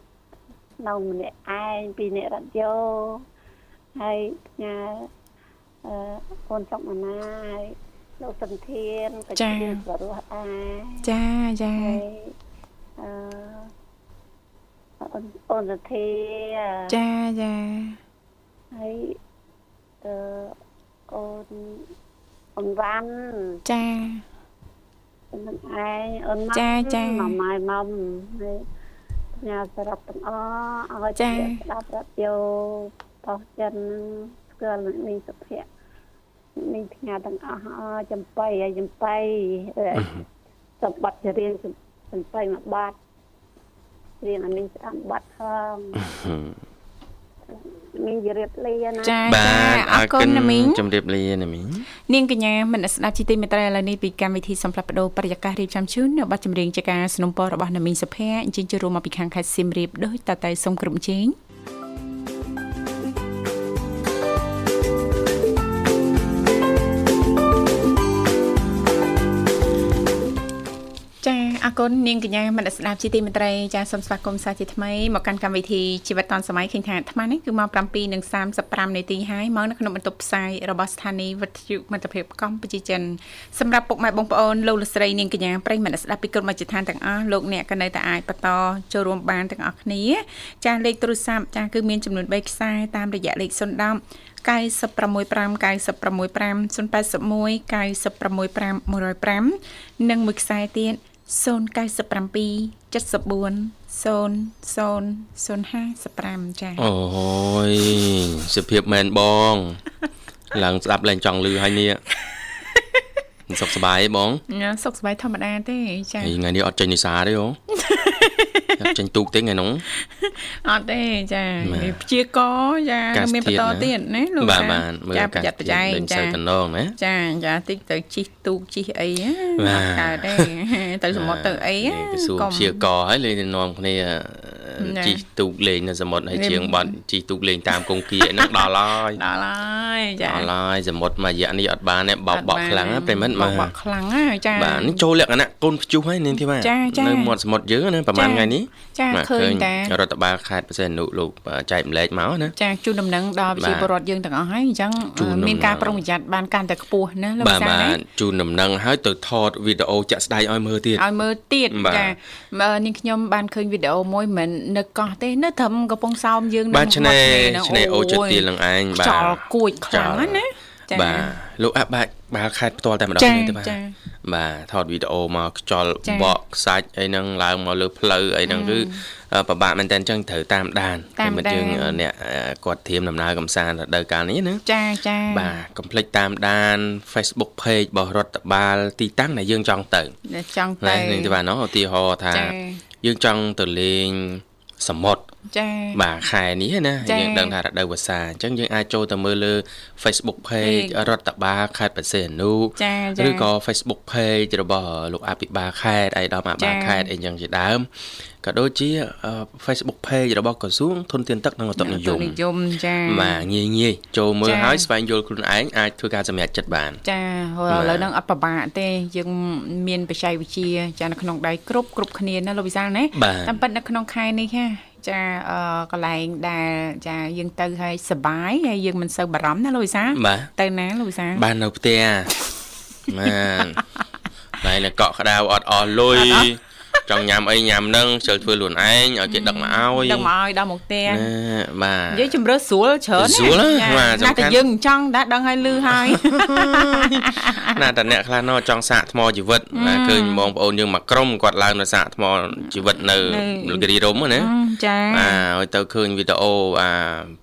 S5: នៅម្នាក់ឯងពីរអ្នករត់យោហើយផ្ញើអឺកូនសុកមណាហើយលោកសន្ធានក៏ជាបរិសអា
S1: ចាចា
S5: ហើយអឺអូនអូនសន្ធា
S1: ចាចា
S5: ហើយអឺអូនអូនវ៉ាន់
S1: ចា
S5: អូននឹងឯងអូនម៉ា
S1: ចាចា
S5: ម៉ាម៉ៃម៉មហើយផ្ញើសរុបទាំងអស់ឲ្យ
S1: ចា
S5: អ្នកស្ដាប់រត់យោបោះចិនស្គាល់នឹងសុភ័ក្រនឹងផ្ញើទាំងអស់អស់ចំបៃហើយចំបៃអឺសម្បត្តិរៀង
S1: [laughs]
S5: ចំបៃមួយបាត់រៀងអានេះស្អាតបាត់ផង
S2: ហឹម
S5: មានជរៀបលាណា
S1: ចាច
S2: បា
S1: ា
S2: ទ
S1: អរគុណណាមីង
S2: ជម្រាបលាណាមីង
S1: នាងកញ្ញាមនស្សស្ដាប់ជីទីមេត្រីឥឡូវនេះពីកម្មវិធីសំផ្លាប់បដោប្រយាកររៀបចំជូននៅប័ណ្ណចម្រៀងជាការสนับสนุนរបស់នាមីសុភ័ក្រអញ្ជើញចូលរួមមកពីខាងខេត្តសៀមរាបដោយតតែសូមក្រុមជេងចាអរ គុណនាងកញ្ញាមនស្សស្ដាប់ជាទីមេត្រីចាសូមស្វាគមន៍សាជាថ្មីមកកាន់កម្មវិធីជីវិតឌុនសម័យឃើញថាអាត្មានេះគឺម៉ោង7:35នាទីហើយមកនៅក្នុងបន្ទប់ផ្សាយរបស់ស្ថានីយ៍វិទ្យុមិត្តភាពកម្ពុជាចិនសម្រាប់ពុកម៉ែបងប្អូនលោកលកស្រីនាងកញ្ញាប្រិយមិត្តអ្នកស្ដាប់ពីក្រុមមជ្ឈដ្ឋានទាំងអស់លោកអ្នកក៏នៅតែអាចបន្តចូលរួមបានទាំងអស់គ្នា ចាលេខទូរស័ព្ទចាគឺមានចំនួន3ខ្សែតាមរយៈលេខ010 965965091965និងមួយខ្សែទៀត0977400055ចា៎
S2: អូយសុភាពមែនបង ឡើងស្ដាប់ឡើងចង់លឺហើយនេះមិនសុខសប្បាយទេបង
S1: ញ៉ាំសុខសប្បាយធម្មតាទេចា
S2: ហើយថ្ងៃនេះអត់ចេញនេសាទេហ៎អត់ចេញទូកទេថ្ងៃនោះ
S1: អត់ទេចា
S2: បាទ
S1: ព្យាករណ៍ចា
S2: អាកាស
S1: មានបន្ត
S2: ធា
S1: ទៀតណាលោក
S2: បាទ
S1: ចា
S2: បាទមើល
S1: ចា
S2: អា
S1: ប្រយ័ត្នប្រយែង
S2: លេង
S1: ចា
S2: សូវតំណងណា
S1: ចាចាតិចទៅជីកទូកជីកអីណា
S2: បាទ
S1: កើតទេ [laughs] ទៅសមុទ្រទៅអី
S2: នេះគឺសួរ
S1: កុំ
S2: ព្យាករណ៍ហើយលេងនាំគ្នា
S1: ណា
S2: ជីកទូកលេងនៅសមុទ្រហើយ
S1: លេង
S2: ជើងបាត់ជីកទូកលេងតាមកុង
S1: [laughs]
S2: គៀហ្នឹងដល់ហើយដ
S1: ដល់ហើយចា
S2: ល់ហើយសមុទ្រមួយរយៈនេះអត់បានទេបោកបក់ខ្លាំងណាស់ពេលមិនម
S1: បោកប
S2: ា
S1: ក់ខ្លាំងណាស់ចា
S2: បាទនេះចូលលក្ខណៈកូនព្យុះហើយនាងធីវ៉ា
S1: ចាចា
S2: នៅមាត់សមុទ្រយើងណាប្រហែល
S1: ចា
S2: ថ្ងៃនេះ
S1: ចា
S2: បាទ
S1: ឃើញតា
S2: រដ្ឋបាលខេត្តបរសេនុលោកចែកម្លែកមកណា
S1: ចាជូនដំណឹងដល់វិជាពលរដ្ឋយើងទាំងអស់ហើយអញ្ចឹង
S2: ជូនដំណឹង
S1: មានការប្រុងប្រយ័ត្នបានកាន់តែខ្ពស់ណាលោក
S2: បាទ
S1: វិសាល
S2: បា
S1: ណា
S2: ទជូនដំណឹងហើយទៅថតវីដេអូចាក់ស្ដែងឲ្យមើលទៀត
S1: ឲ្យមើលទៀត
S2: បាទ
S1: ចាមើលនាងខ្ញុំបានឃើញវីដេអូមួយមិននៅកោះទេនៅត្រឹមកំពង់សោមយើងនៅ
S2: បាទឆ្នេរ
S1: មាត់ហ្នឹង
S2: ឆ្នេរអូចិត្តទៀលនឹងឯងបាទ
S1: ខ្យល់គួចខ្លាំងណាស់ណាចា
S2: បាទលោកអាបាក់បាល់ខេត្តផ្ទាល់តែម្ដង
S1: ចា
S2: នេះទេបាទ
S1: ចា
S2: បាទថតវីដេអូមកខ្យល់
S1: ចា
S2: បក់ខ្សាច់អីហ្នឹងឡើងមកលើផ្លូវអីហ្នឹងគឺអឺពិបាកមែនតើអញ្ចឹងត្រូវតាមដាន
S1: តាម
S2: មិត្ត
S1: ដាន
S2: យើងអឺអ្នកអឺគាត់ធៀមដំណើរកំសាន្តរដូវកាលនេះណា
S1: ចាចា
S2: បាទកុំភ្លេចតាមដាន Facebook page របស់រដ្ឋបាលទីតាំងដែលយើងចង់ទៅ
S1: ដែលចង់
S2: ណា
S1: ទៅ
S2: នេះទេបាទណោះឧទាហរណ៍ថា
S1: ចា
S2: យើងចង់ទៅលេងសមុទ្រ
S1: ចា
S2: បាទខែនេះណា
S1: ចា
S2: យើងដឹងថារដូវវស្សាអញ្ចឹងយើងអាចចូលទៅមើលលើ Facebook page
S1: ពេក
S2: រដ្ឋបាលខេត្តបរសេនុ
S1: ចាចា
S2: ឬក៏ Facebook page របស់លោកអភិបាលខេត្តឯកឧត្តមអភិបាល
S1: ចា
S2: ខេត្តអីចឹងជាដើមក៏ដូចជាអឺ Facebook page របស់ក្រសួងធនធានទឹកនិងឧតុនិយម
S1: និយមចា
S2: បាទងាយងាយចូលមើ
S1: ចា៎
S2: លហើយស្វែងយល់ខ្លួនឯងអាចធ្វើការសម្រេចចិត្តបាន
S1: ចាឥ
S2: បាទ
S1: ឡូវហ្នឹងអត់ប្របាកទេយើងមានបច្ចេកវិទ្យាចានៅក្នុងដៃគ្រប់គ្រប់គ្នាណាលោកវិសាលណា
S2: បាទ
S1: តាមពិតនៅក្នុងខែនេះហាចាអឺកន្លែងដែលចាយើងទៅហើយសប្បាយហើយយើងមិនសូវបារម្ភណាលោកវិសាល
S2: បាទ
S1: ទៅណាលោកវិសាល
S2: បាននៅផ្ទះ
S1: [laughs]
S2: បានតែនៅកក់ក្ដៅអត់អស់លុយចង់ញ៉ាំអីញ៉ាំហ្នឹងចូលធ្វើខ្លួនឯងឲ្យគេដឹកមកឲ្យ
S1: ដឹកមកឲ្យដល់មកផ្ទះ
S2: ណាបាទ
S1: និយាយជំរឿស្រួលច្រើនណា
S2: ស្រួលណា
S1: ចា
S2: បាទ
S1: ណា
S2: សំខាន់
S1: តែយើងមិនចង់ដែរដឹងហើយលឺហើយ
S2: ណាតអ្នកខ្លះណោះចង់សាកថ្មជីវិតណាឃើញបងប្អូនយើងមកក្រុមគាត់ឡើងនៅសាកថ្មជីវិតនៅ
S1: នៅ
S2: លោករីរមហ្នឹងណា
S1: ចា
S2: អាឲ្យទៅឃើញវីដេអូអា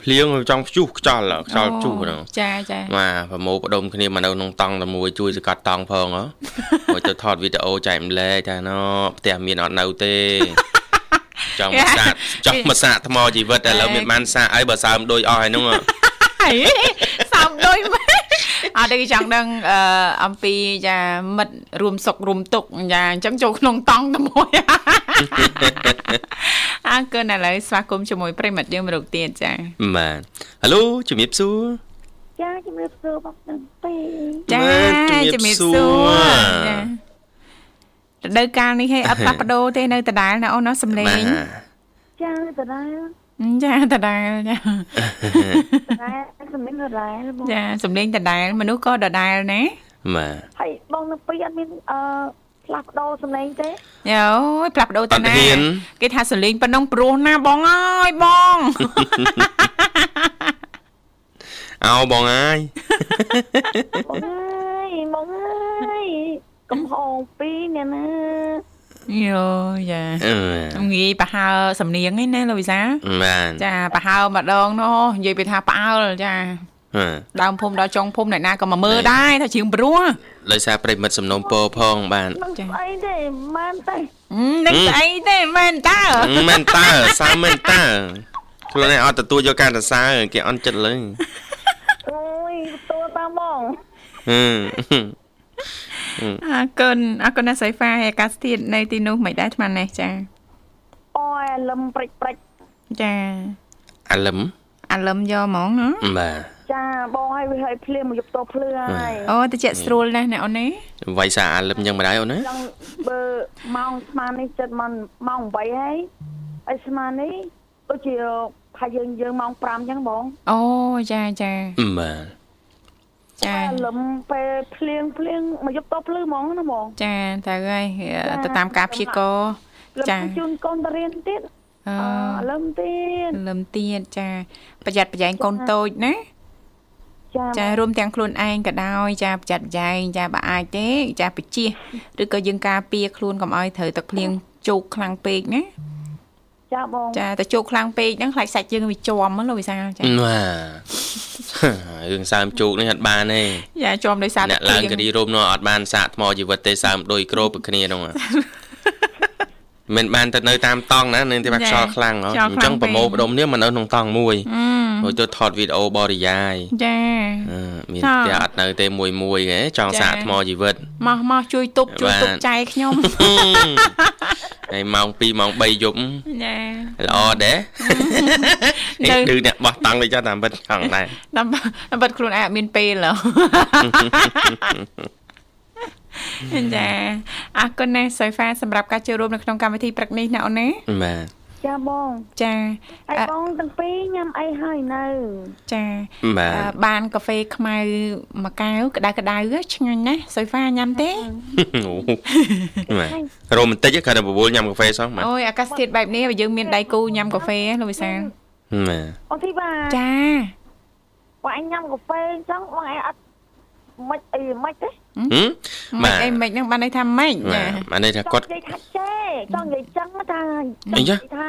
S2: ភ្លៀងចង់ព្យុះខ្យល់ខ្យល់ព្យុះហ្នឹង
S1: ចាចា
S2: បាទប្រមូលផ្ដុំគ្នាមកនៅក្នុងតង់តែមួយជួយសកាត់តង់ផង
S1: [laughs]
S2: ហ៎ មកទៅថតវីដេអូចែកម្លែកថាណោផ្ទះមានអត់នៅទេ
S1: [laughs]
S2: ចង់មកសាកចង់មកសាកថ្មជីវិតឥឡូវមានបានសាកអីបើសើមដូចអស់ហើយ
S1: [laughs]
S2: ហ្នឹងហ៎
S1: ហីសោកដូចមកអត់ទេចង់ដឹងអឺអំពីចាមិត្តរួមសុខរួមទុក្ខចាអញ្ចឹងចូលក្នុងតង់តែ [laughs] មួយអើកូនឥឡូវស្វាគមន៍ជាមួយប្រិមិត្តយើងមករកទៀតចា
S2: បាទហៅឡូជំរាបសួរ
S5: [laughs] ចាជំរាបសួរបងទាំងពីរ
S1: ចា
S2: បាទជំរាប
S1: រាប
S2: សួរ
S1: ចារដូវកាលនេះហេអត់ផ្លាស់ប្ដូរទេនៅដដែលណាអូនណាសំឡេ
S2: បាទ
S1: ង
S5: ចាតារា [laughs]
S1: ចាដដែលចា
S5: រ៉ែសំឡេងរ៉ែ
S1: [laughs]
S5: បង
S1: ចាសំឡេងដដែលមនុស្សក៏ដដែលណា
S2: បាទ
S5: ហើយបងនឹងពីរអត់មានអឺផ្លាស់ប្ដូរសំឡេងទេ
S1: អូយផ្លាស់ប្ដូរ
S2: អ
S1: ទៅ
S2: ត់
S1: ណា
S2: ហ៊ាន
S1: គេថាសំឡេងប៉ុណ្ណឹងព្រោះណាបងអើយបង
S2: អោបងអា
S1: [laughs]
S2: យ
S5: បងអើយបងអើយកំហងពីរអ្នកណា
S1: [laughs] យោយ៉ា
S2: អឺ
S1: ងាយប្រហើសំនៀងឯណាលោកវិសាល
S2: បាទ
S1: ចាប្រហើម្ដងនោះនិយាយពីថាផ្អើលចា
S2: បាទ
S1: ដើមភូមិដល់ចុងភូមិអ្នកណាក៏មកមើលដែរថាជើងព្រោះ
S2: ដោយសារប្រិយមិត្តសំណូមពរផងបាទ
S5: មិនស្អីទេមិនទេ
S1: ហ៊ឹមនឹងស្អីទេមែនតើ
S2: មែនតើ [laughs] សើមែនតើខ្លួនឯងអត់ទទួលយកការសរសើរគេអន់ចិត្ត
S1: [laughs]
S2: លើ
S5: អូយទទួលតាមបង
S2: ហឹម
S1: អរគុណអរគុណណាស់សៃហ្វាហើយអាកាសធាតុនៅទីនោះមិនដែរថ្មនេះចា
S5: អូយអាលឹមព្រិចព្រិច
S1: ចា
S2: អាលឹម
S1: អាលឹមយកហ្មងណា
S2: បាទ
S5: ចាបងឲ្យវាឲ្យភ្លៀងមកយកតោភ្លឺហើយ
S1: អូតិចស្រួលណាស់ណាអូនណា
S2: វាយសារអាលឹមយ៉ាងម្ដងអូនណា
S5: ចង់បើម៉ោងស្មាននេះចិត្តម៉ោងម៉ោង8ហើយហើយស្មាននេះដូចជាថាយើងយើងម៉ោង5អញ្ចឹងបង
S1: អូចាចា
S2: បាទ
S1: ចា
S5: ពេលលឹមពេលភ្លៀងភ្លៀងមកយកតោភ្លឺហ្មងណាបង
S1: ចាតើហើយ
S5: ចា
S1: ទៅតាមការព្យាករណ៍
S5: លឹ
S1: ចា
S5: មជូនកូនទៅរៀនទៀត
S1: អ
S5: អឺលឹមទៀត
S1: ឺលឹមទៀតចាប្រយ័ត្នប្រយែងកូនតូចណា
S5: ចា
S1: ចារួមទាំងខ្លួនឯងក៏ដោយចាប្រយ័ត្នប្រយែងចាបើអាចទេចាបជាឬក៏យើងការពារខ្លួនកុំឲ្យត្រូវទឹកភ្លៀងជោកខ្លាំងពេកណា
S5: ចាបង
S1: ចាតែជោកខ្លាំងពេកហ្នឹងខ្លាចសាច់យើងវាជាប់ហ្នឹងលោកវិសាលចា
S2: [laughs] បាទរឿងសើមជោគនេះអត់បានទេ
S1: ចាជាប់ដោយសារ
S2: អ្នកឡើង
S1: ភ្លៀ
S2: គិរីរោមនោះអត់បានសាកថ្មជីវិតទេសើមដូចក្របពីគ្នាហ្នឹងហ៎មិនបានទៅនៅតាមតង់ណានៅទីបាក់
S1: ចា
S2: ខ្យល់ខ្លាំងហ៎
S1: ខ្យល់
S2: អញ្ចឹង
S1: ខ្លាំងពេក
S2: ប្រមូលផ្ដុំនេះមកនៅក្នុងតង់មួយ
S1: អឺ
S2: រួចទៅថតវីដេអូបរិយាយ
S1: ចា
S2: អឺមានផ្ទះអត់នៅទេមួយមួយហ៎ចង់សាកថ្មជីវិត
S1: ម៉ោះម៉ោះជួយទប់ជួយ
S2: បាទ
S1: ទប់ចែក
S2: [laughs]
S1: ខ្ញុំ
S2: ហើយម៉ោង2ម៉ោង3យប់
S1: ចា
S2: ល្អដែរ
S1: នៅ
S2: នេះគឺអ្នកបោះតង់ដូចចាំតាមពិតចង់ដែរ
S1: តាមតាមបាត់ខ្លួនឯងអត់មានពេលហ
S2: [laughs]
S1: ៎ ចាអរគុណណាស់សូហ្វាសម្រាប់ការចូលរួមនៅក្នុងកម្មវិធីព្រឹកនេះណាអូនណា
S2: បាទ
S5: ចាបង
S1: ចា
S5: អី
S1: អ่ะ
S5: បងទាំងពីរញ៉ាំអីហើយនៅ
S1: ចា
S2: បាទ
S1: អ่ะបានកាហ្វេខ្មៅមួយកែវក្តៅក្តៅៗឆ្ងាញ់ណាស់សូហ្វាញ៉ាំទេ
S2: អូបាទរ៉ូមែនទិកគាត់ទៅបបួលញ៉ាំកាហ្វេសោះបាទ
S1: អូយអាកាសធាតុបែបនេះបើយើងមានដៃគូញ៉ាំកាហ្វេលោកវិសាល
S2: បាទ
S5: អូធីបា
S1: ចា
S5: បងអញញ៉ាំកាហ្វេអញ្ចឹងបងអញអត់មិនអីមិនទេ
S2: ហឹម
S1: មិនអីមិនហ្នឹងបានន័យថាម៉េច
S2: បាទ
S1: ចា
S2: អានេះថា
S5: ច
S2: គាត់
S5: ង់និយាយថាចេចង់និយាយចឹងថា
S2: អីយ៉ា
S5: និយាយថា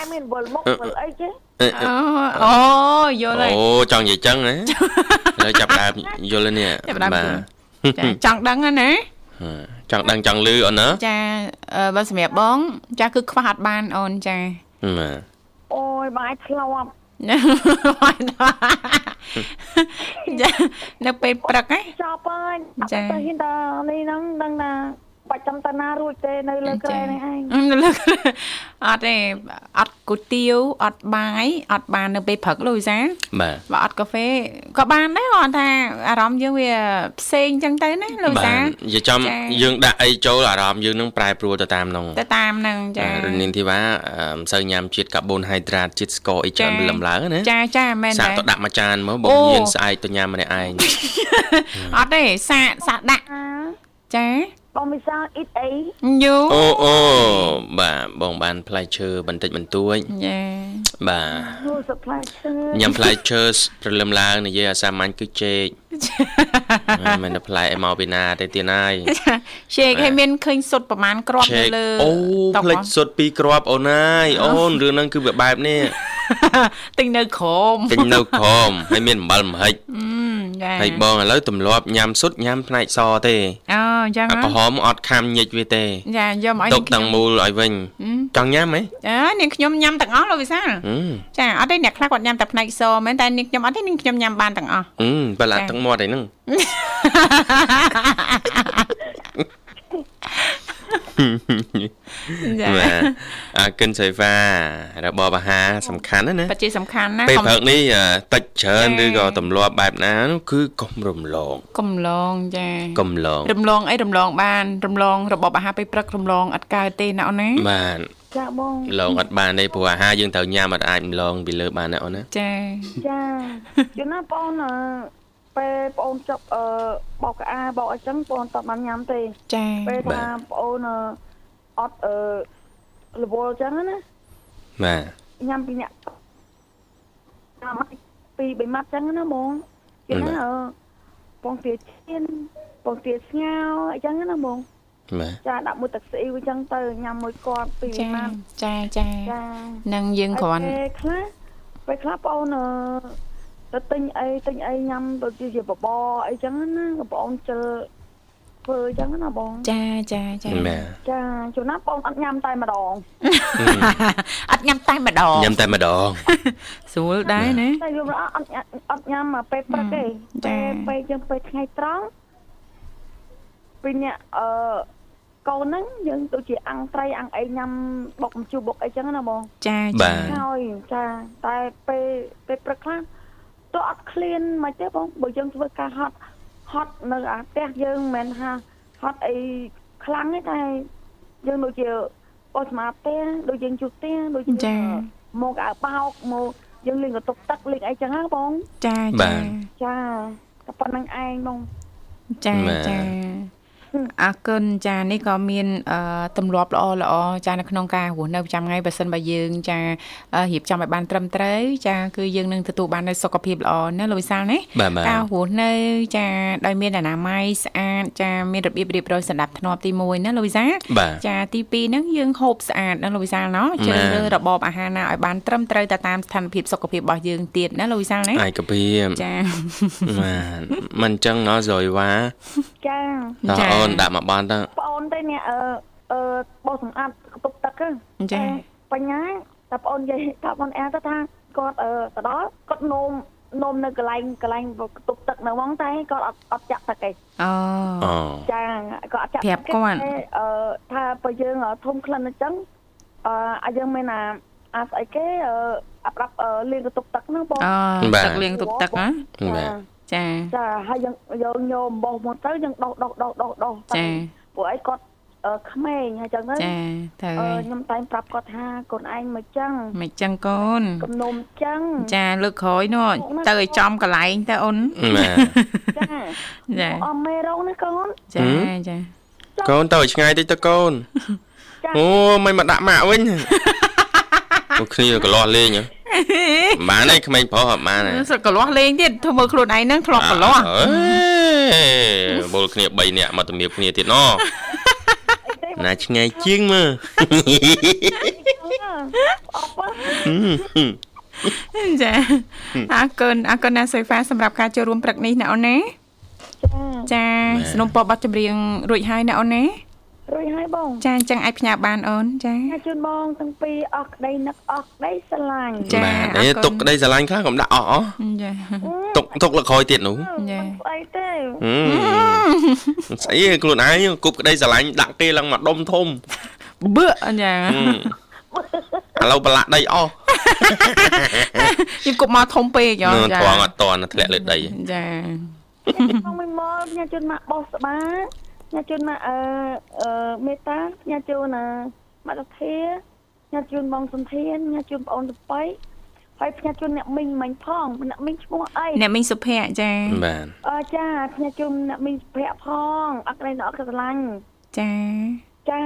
S5: អញមានវល់មកវល់អីចេ
S2: អេអេ
S1: អូអូយល់ហើយ
S2: អូចង់និយាយចឹង
S1: [laughs]
S2: ណាឥឡូវចាប់ដើមយល់ហើយនេះ
S1: ចាប់ផ្ដើម
S2: បាទ
S1: យល់ ចាចង់ដឹងហ្នឹងណា
S2: [laughs] ចង់ដឹងចង់លឺអូនណា
S1: ចាអឺបើសម្រាប់បង ចាគឺខ្វះអត់បានអូនចា [laughs]
S2: បាទ
S5: អូយបងអាចធ្លាប់
S1: ចានៅពេលព្រឹកណា
S5: ចប់ហើយអត់
S1: ចា
S5: ទៅហ៊ានតានេះហ្នឹងដឹងថាបាច់ចាំតាណារួចទេនៅលើក្រែនេះឯង
S1: អឺនៅលើអត់ទេអត់គុយទាវអត់បាយអត់បាននៅពេលព្រឹកលូយសា
S2: បាទ
S1: បើអត់កាហ្វេក៏បានដែរគ្រាន់ថាអារម្មណ៍យើងវាផ្សេងចឹងទៅណាលូយ
S2: បា
S1: សា
S2: ទយើចាំ
S1: ចា
S2: យើងដាក់អីចូលអារម្មណ៍យើងនឹងប្រែប្រួលទៅតាមនោះ
S1: ទៅតាមហ្នឹងចា
S2: រនាងធីវ៉ាអឺមិនសូវញ៉ាំជាតិកាបូនហៃដ្រាតជាតិស្ករអីច្រើនលំឡើងណា
S1: ចាចាមែន
S2: សាក
S1: ដែរ
S2: ទៅដាក់មួយចានមកប
S1: អូ
S2: ងញៀនស្អែកទៅញ៉ាំម្នាក់ឯង
S1: អត់ទេសាកសាកដាក់
S5: អា
S1: ចា
S5: បងមិនសាអ៊ីតអី
S1: យូ
S2: អូអូបាទបងបានផ្លែឈើបន្តិចបន្តួច
S1: ចា
S2: បាទ
S5: គួរសុខផ្លែឈើ
S2: ញ៉ាំផ្លែឈើព្រលឹមឡើងនិយាយអាសាមញ្ញគឺចេកហើយមិនដល់ផ្លែឯមកពីណាទេទៀតហើយ
S1: [laughs] ឆេកឲ្យមានឃើញសុទ្ធប្រមាណគ្រាប់នៅ
S2: ចេក
S1: លើ
S2: អូ
S1: តុ
S2: ផ្លេចសុទ្ធពីរគ្រាប់អូនហើយអូនរឿងហ្នឹងគឺវាបែបនេះ
S1: [laughs] ទិញនៅក្រោម
S2: ពេញនៅក្រមហើយមានអំបិលមហិច
S1: ចា
S2: ហើយបងឥឡូវទម្លាប់ញ៉ាំសុទ្ធញ៉ាំផ្នែកសទេ
S1: អូអញ្ចឹង
S2: អា
S1: ហ៎
S2: ក្រហមអត់ខាំញិចវាទេ
S1: ចាយកមកឲ្យ
S2: ទុកទាំងមូលឲ្យវិញចង់ញ៉ាំហ៎
S1: អើនាងខ្ញុំញ៉ាំទាំងអស់លោកវិសាល
S2: ហឹម
S1: ចាអត់ទេអ្នកខ្លះគាត់ញ៉ាំតែផ្នែកសមែនតែនាងខ្ញុំអត់ទេនាងខ្ញុំញ៉ាំបានទាំងអស់
S2: ហឹមបើឡាទឹកមាត់ឯហ្នឹង
S1: ចា
S2: បាទអាកិនសេវា របបអាហារសំខាន់ណាស់ណា
S1: ពិតជាសំខាន់ណា
S2: ពេល
S1: កុំ
S2: ព្រឹកនេះអ่าតិចច្រើន
S1: ចា៎
S2: ឬក៏ទម្លាប់បែបណានោះគឺកុំរំលង
S1: កំឡងចា
S2: កុំលង
S1: រំលងអីរំលងបានរំលងរបបអាហារពេលព្រឹករំលងអត់កើតទេណាអូនណា
S2: បាទ
S5: ចាបង
S2: លងអត់បានទេព្រោះអាហារយើងត្រូវញ៉ាំអត់អាចរំលងពីលើបានណាអូនណា
S1: ចា
S5: ចាជឿណាបងអឺពេលបងចប់អឺបោកក្អាបោកអីចឹងបងតបបានញ៉ាំទេ
S1: ចា
S5: ពេល
S2: បា
S5: ថា
S2: ទ
S5: បងអូនអត់អឺរវល់ចឹងណា
S2: បាទ
S5: ញ៉ាំពីអ្នកញ៉ាំឲ្យពីបីម៉ាត់ចឹងណាហ្មងគេណាអឺបងទាឈានបងទាស្ងោអីចឹងណាហ្មង
S2: បាទ
S5: ចាដាក់មួយទឹកស្អ៊ីវអីចឹងទៅញ៉ាំមួយគាត់ពីបី
S1: ចា
S5: ម៉ាត់
S1: ចាចា
S5: ចា
S1: នឹងយើងគ្រាន់
S5: ហើយពេលខ្លះពេលខ្លះបងអូនអឺទៅទិញអីទិញអីញ៉ាំដូចជាបបរអីចឹងណាបងអូនជិលធ្វើអីចឹងណាបង
S1: ចាចាចា
S2: បាទ
S5: ចាជួនណាបងអត់ញ៉ាំតែម្ដង
S1: អត់ញ៉ាំតែម្ដង
S2: ញ៉ាំតែម្ដង
S1: ស្រួលដែរណា
S5: តែយកម្រអត់ញ៉ាំអត់ញ៉ាំមកពេលព្រឹកទេ
S1: ចា
S5: ពេលពេលយើងពេលថ្ងៃត្រង់ពីអ្នកអឺកូនហ្នឹងយើងដូចជាអាំងត្រីអាំងអីញ៉ាំបុកម្ជូរបុកអីចឹងណាបង
S1: ចា
S2: បា
S1: ចា
S2: ទ
S5: ហើយចាតែពេលពេលព្រឹកខ្លះ ទោះអត់ឃ្លានមិនទេបងបើយើងធ្វើការហត់ហត់នៅអាផ្ទះយើងមិនមែនថាហត់អីខ្លាំងទេតែយើងដូចជាអត់ស្មាតទេដូចយើងជុះទេដូច
S1: ចា
S5: ជាមកអាបោកមកយើងលេងកន្ទុកទឹកលេងអីចឹងហ្នឹងបង
S1: ចា
S2: បា
S1: ចា
S2: ទ
S5: ចាតែប៉ុណ្្នឹងឯងបង
S1: ចា
S2: បាទ
S1: ចាអរគុណចានេះក៏មានអឺទម្លាប់ល្អល្អចានៅក្នុងការរស់នៅប្រចាំថ្ងៃបើសិនបើយើងចាអឺរៀបចំឲ្យបានត្រឹមត្រូវចាគឺយើងនឹងទទួលបាននូវសុខភាពល្អណាលោកវិសាលណា
S2: បាទបាទ
S1: ការរស់នៅចាដោយមានអនាម័យស្អាតចាមានរបៀបរៀបរយសម្ដាប់ធ្នាប់ទី1ណាលោកវិសាល
S2: បាទ
S1: ចាទី2ហ្នឹងយើងហូបស្អាតណាលោកវិសាលណោះជ្រើសរើសរបបអាហារណាឲ្យបានត្រឹមត្រូវទៅតាមស្ថានភាពសុខភាពរបស់យើងទៀតណាលោកវិសាលណា
S2: ឯកភាព
S1: ចា
S2: [laughs] បាទມັນចឹងណោះសុយវ៉ា
S5: ចា
S2: តោះ
S1: ចា
S2: អូនដាក់មកបានតើ
S5: ប្អូនទេអ្នកអឺអឺបោះសម្អាតកន្ទុកទឹកហ្នឹង
S1: ចា
S5: តែបញ្ញាតែប្អូននិយាយថាប្អូនអែទៅថាគាត់អឺទៅដល់គាត់នោមនោមនៅកន្លែងកន្លែងកន្ទុកទឹកនៅហ្មងតែគាត់អត់អត់ចាក់ទឹកឯង
S1: អូ
S2: អូ
S5: ចាគាត់អត់ចាក់
S1: ប្រាប់គាត់
S5: ទេអឺថាបើយើងអឺធំក្លិនអញ្ចឹងអឺឲ្យយើងមានអាអាស្អីគេអឺអាប្រាប់អឺលាងកន្ទុកទឹកហ្នឹងបង
S1: អូ
S2: បាទ
S1: ទឹកលាងទុបទឹកណា
S2: បា
S5: ចា
S2: ទ
S1: ចា
S5: ចាហើយយើងយើងញោមបោះមកទៅយើងដោះដោះដោះដោះដោះទៅ
S1: ចា
S5: ពួកឯងគាត់អឺក្មេងហើយចឹងទៅ
S1: ចាទៅ
S5: អឺខ្ញុំតែងប្រាប់គាត់ថាកូនឯងមកចឹង
S1: មិនចឹងកូន
S5: គំនុំចឹង
S1: ចាលើកក្រោយនោះទៅឲ្យចំកន្លែងទៅអូន
S2: បាទ
S5: ចា
S1: ចា
S5: អមមេរោងនេះកូន
S1: ចា
S2: ហឹម
S1: ចា
S2: កូនទៅឲ្យឆ្ងាយតិចទៅកូន
S5: ចា
S2: អូមិនមកដាក់ម៉ា
S1: [laughs]
S2: ក់វិញពួកគ្នាកលាស់លេងហ៎មិនបានទេក្មេងប្រុសអត់បានទេ
S1: សឹកកលាស់លេងទៀតធ្វើមើលខ្លួនឯងហ្នឹងធ្លាប់ក [laughs] លាស់
S2: អេបុលគ្នា3នាក់មកទំនៀបគ្នាទៀតណោះ
S1: [laughs]
S2: ណាឆ្ងាយជាងមើល
S5: [laughs] អបអរ
S1: ចាអរគុណអរគុណណាសូហ្វាសម្រាប់ការចូលរួមព្រឹកនេះណាអូនណា
S5: ចា
S1: ចាสนុំពរប័ណ្ណចម្រៀងរួចហើយណាអូនណា
S5: រួចហើយបង
S1: ចាអញ្ចឹងអាចផ្ញើបានអូនចា
S5: ចាជូនបងទាំងពីរអស់ក្តីនឹកអស់ក្តីស្រឡាញ់
S1: ចាអរ
S2: បាទ
S1: គុណ
S2: ទេទុកក្តីស្រឡាញ់ខ្លះកុំដាក់អស់អស់
S1: ចា
S2: ទុកទុកលើក្រោយទៀតនោះ
S5: ចាស្អីទេ
S2: ហឹ [laughs] មស្អីខ្លួនឯងគប់ក្តីស្រឡាញ់ដាក់គេឡើងមកដុំធំ
S1: [laughs] បឺចា
S2: ឥឡូវប្រឡាក់ដីអស់
S1: [laughs] ខ្ញុំគប់មកធំពេក
S2: នៅ
S1: អូ
S2: ត្រង់អត់តន់ធ្លាក់លើដី
S1: ចា
S5: បងមិនមកញ៉ាជូនមកបោះស្បាញ៉ាជូនមកអឺអឺមេតាញ៉ាជូនណាមកតាធាញ៉ាជូនបងសុនធានញ៉ាជូនបងអូនទៅបៃហើយផ្ញើជូនអ្នកមីងមិញផងអ្នកមីងឈ្មោះអី
S1: អ្នកមីងសុភ័ក្រចា
S2: បាទ
S5: អរចាខ្ញុំជុំអ្នកមានសុភ័ក្រផងអរគុណអ្នកអរគុណស្រឡាញ់
S1: ចា
S5: ចា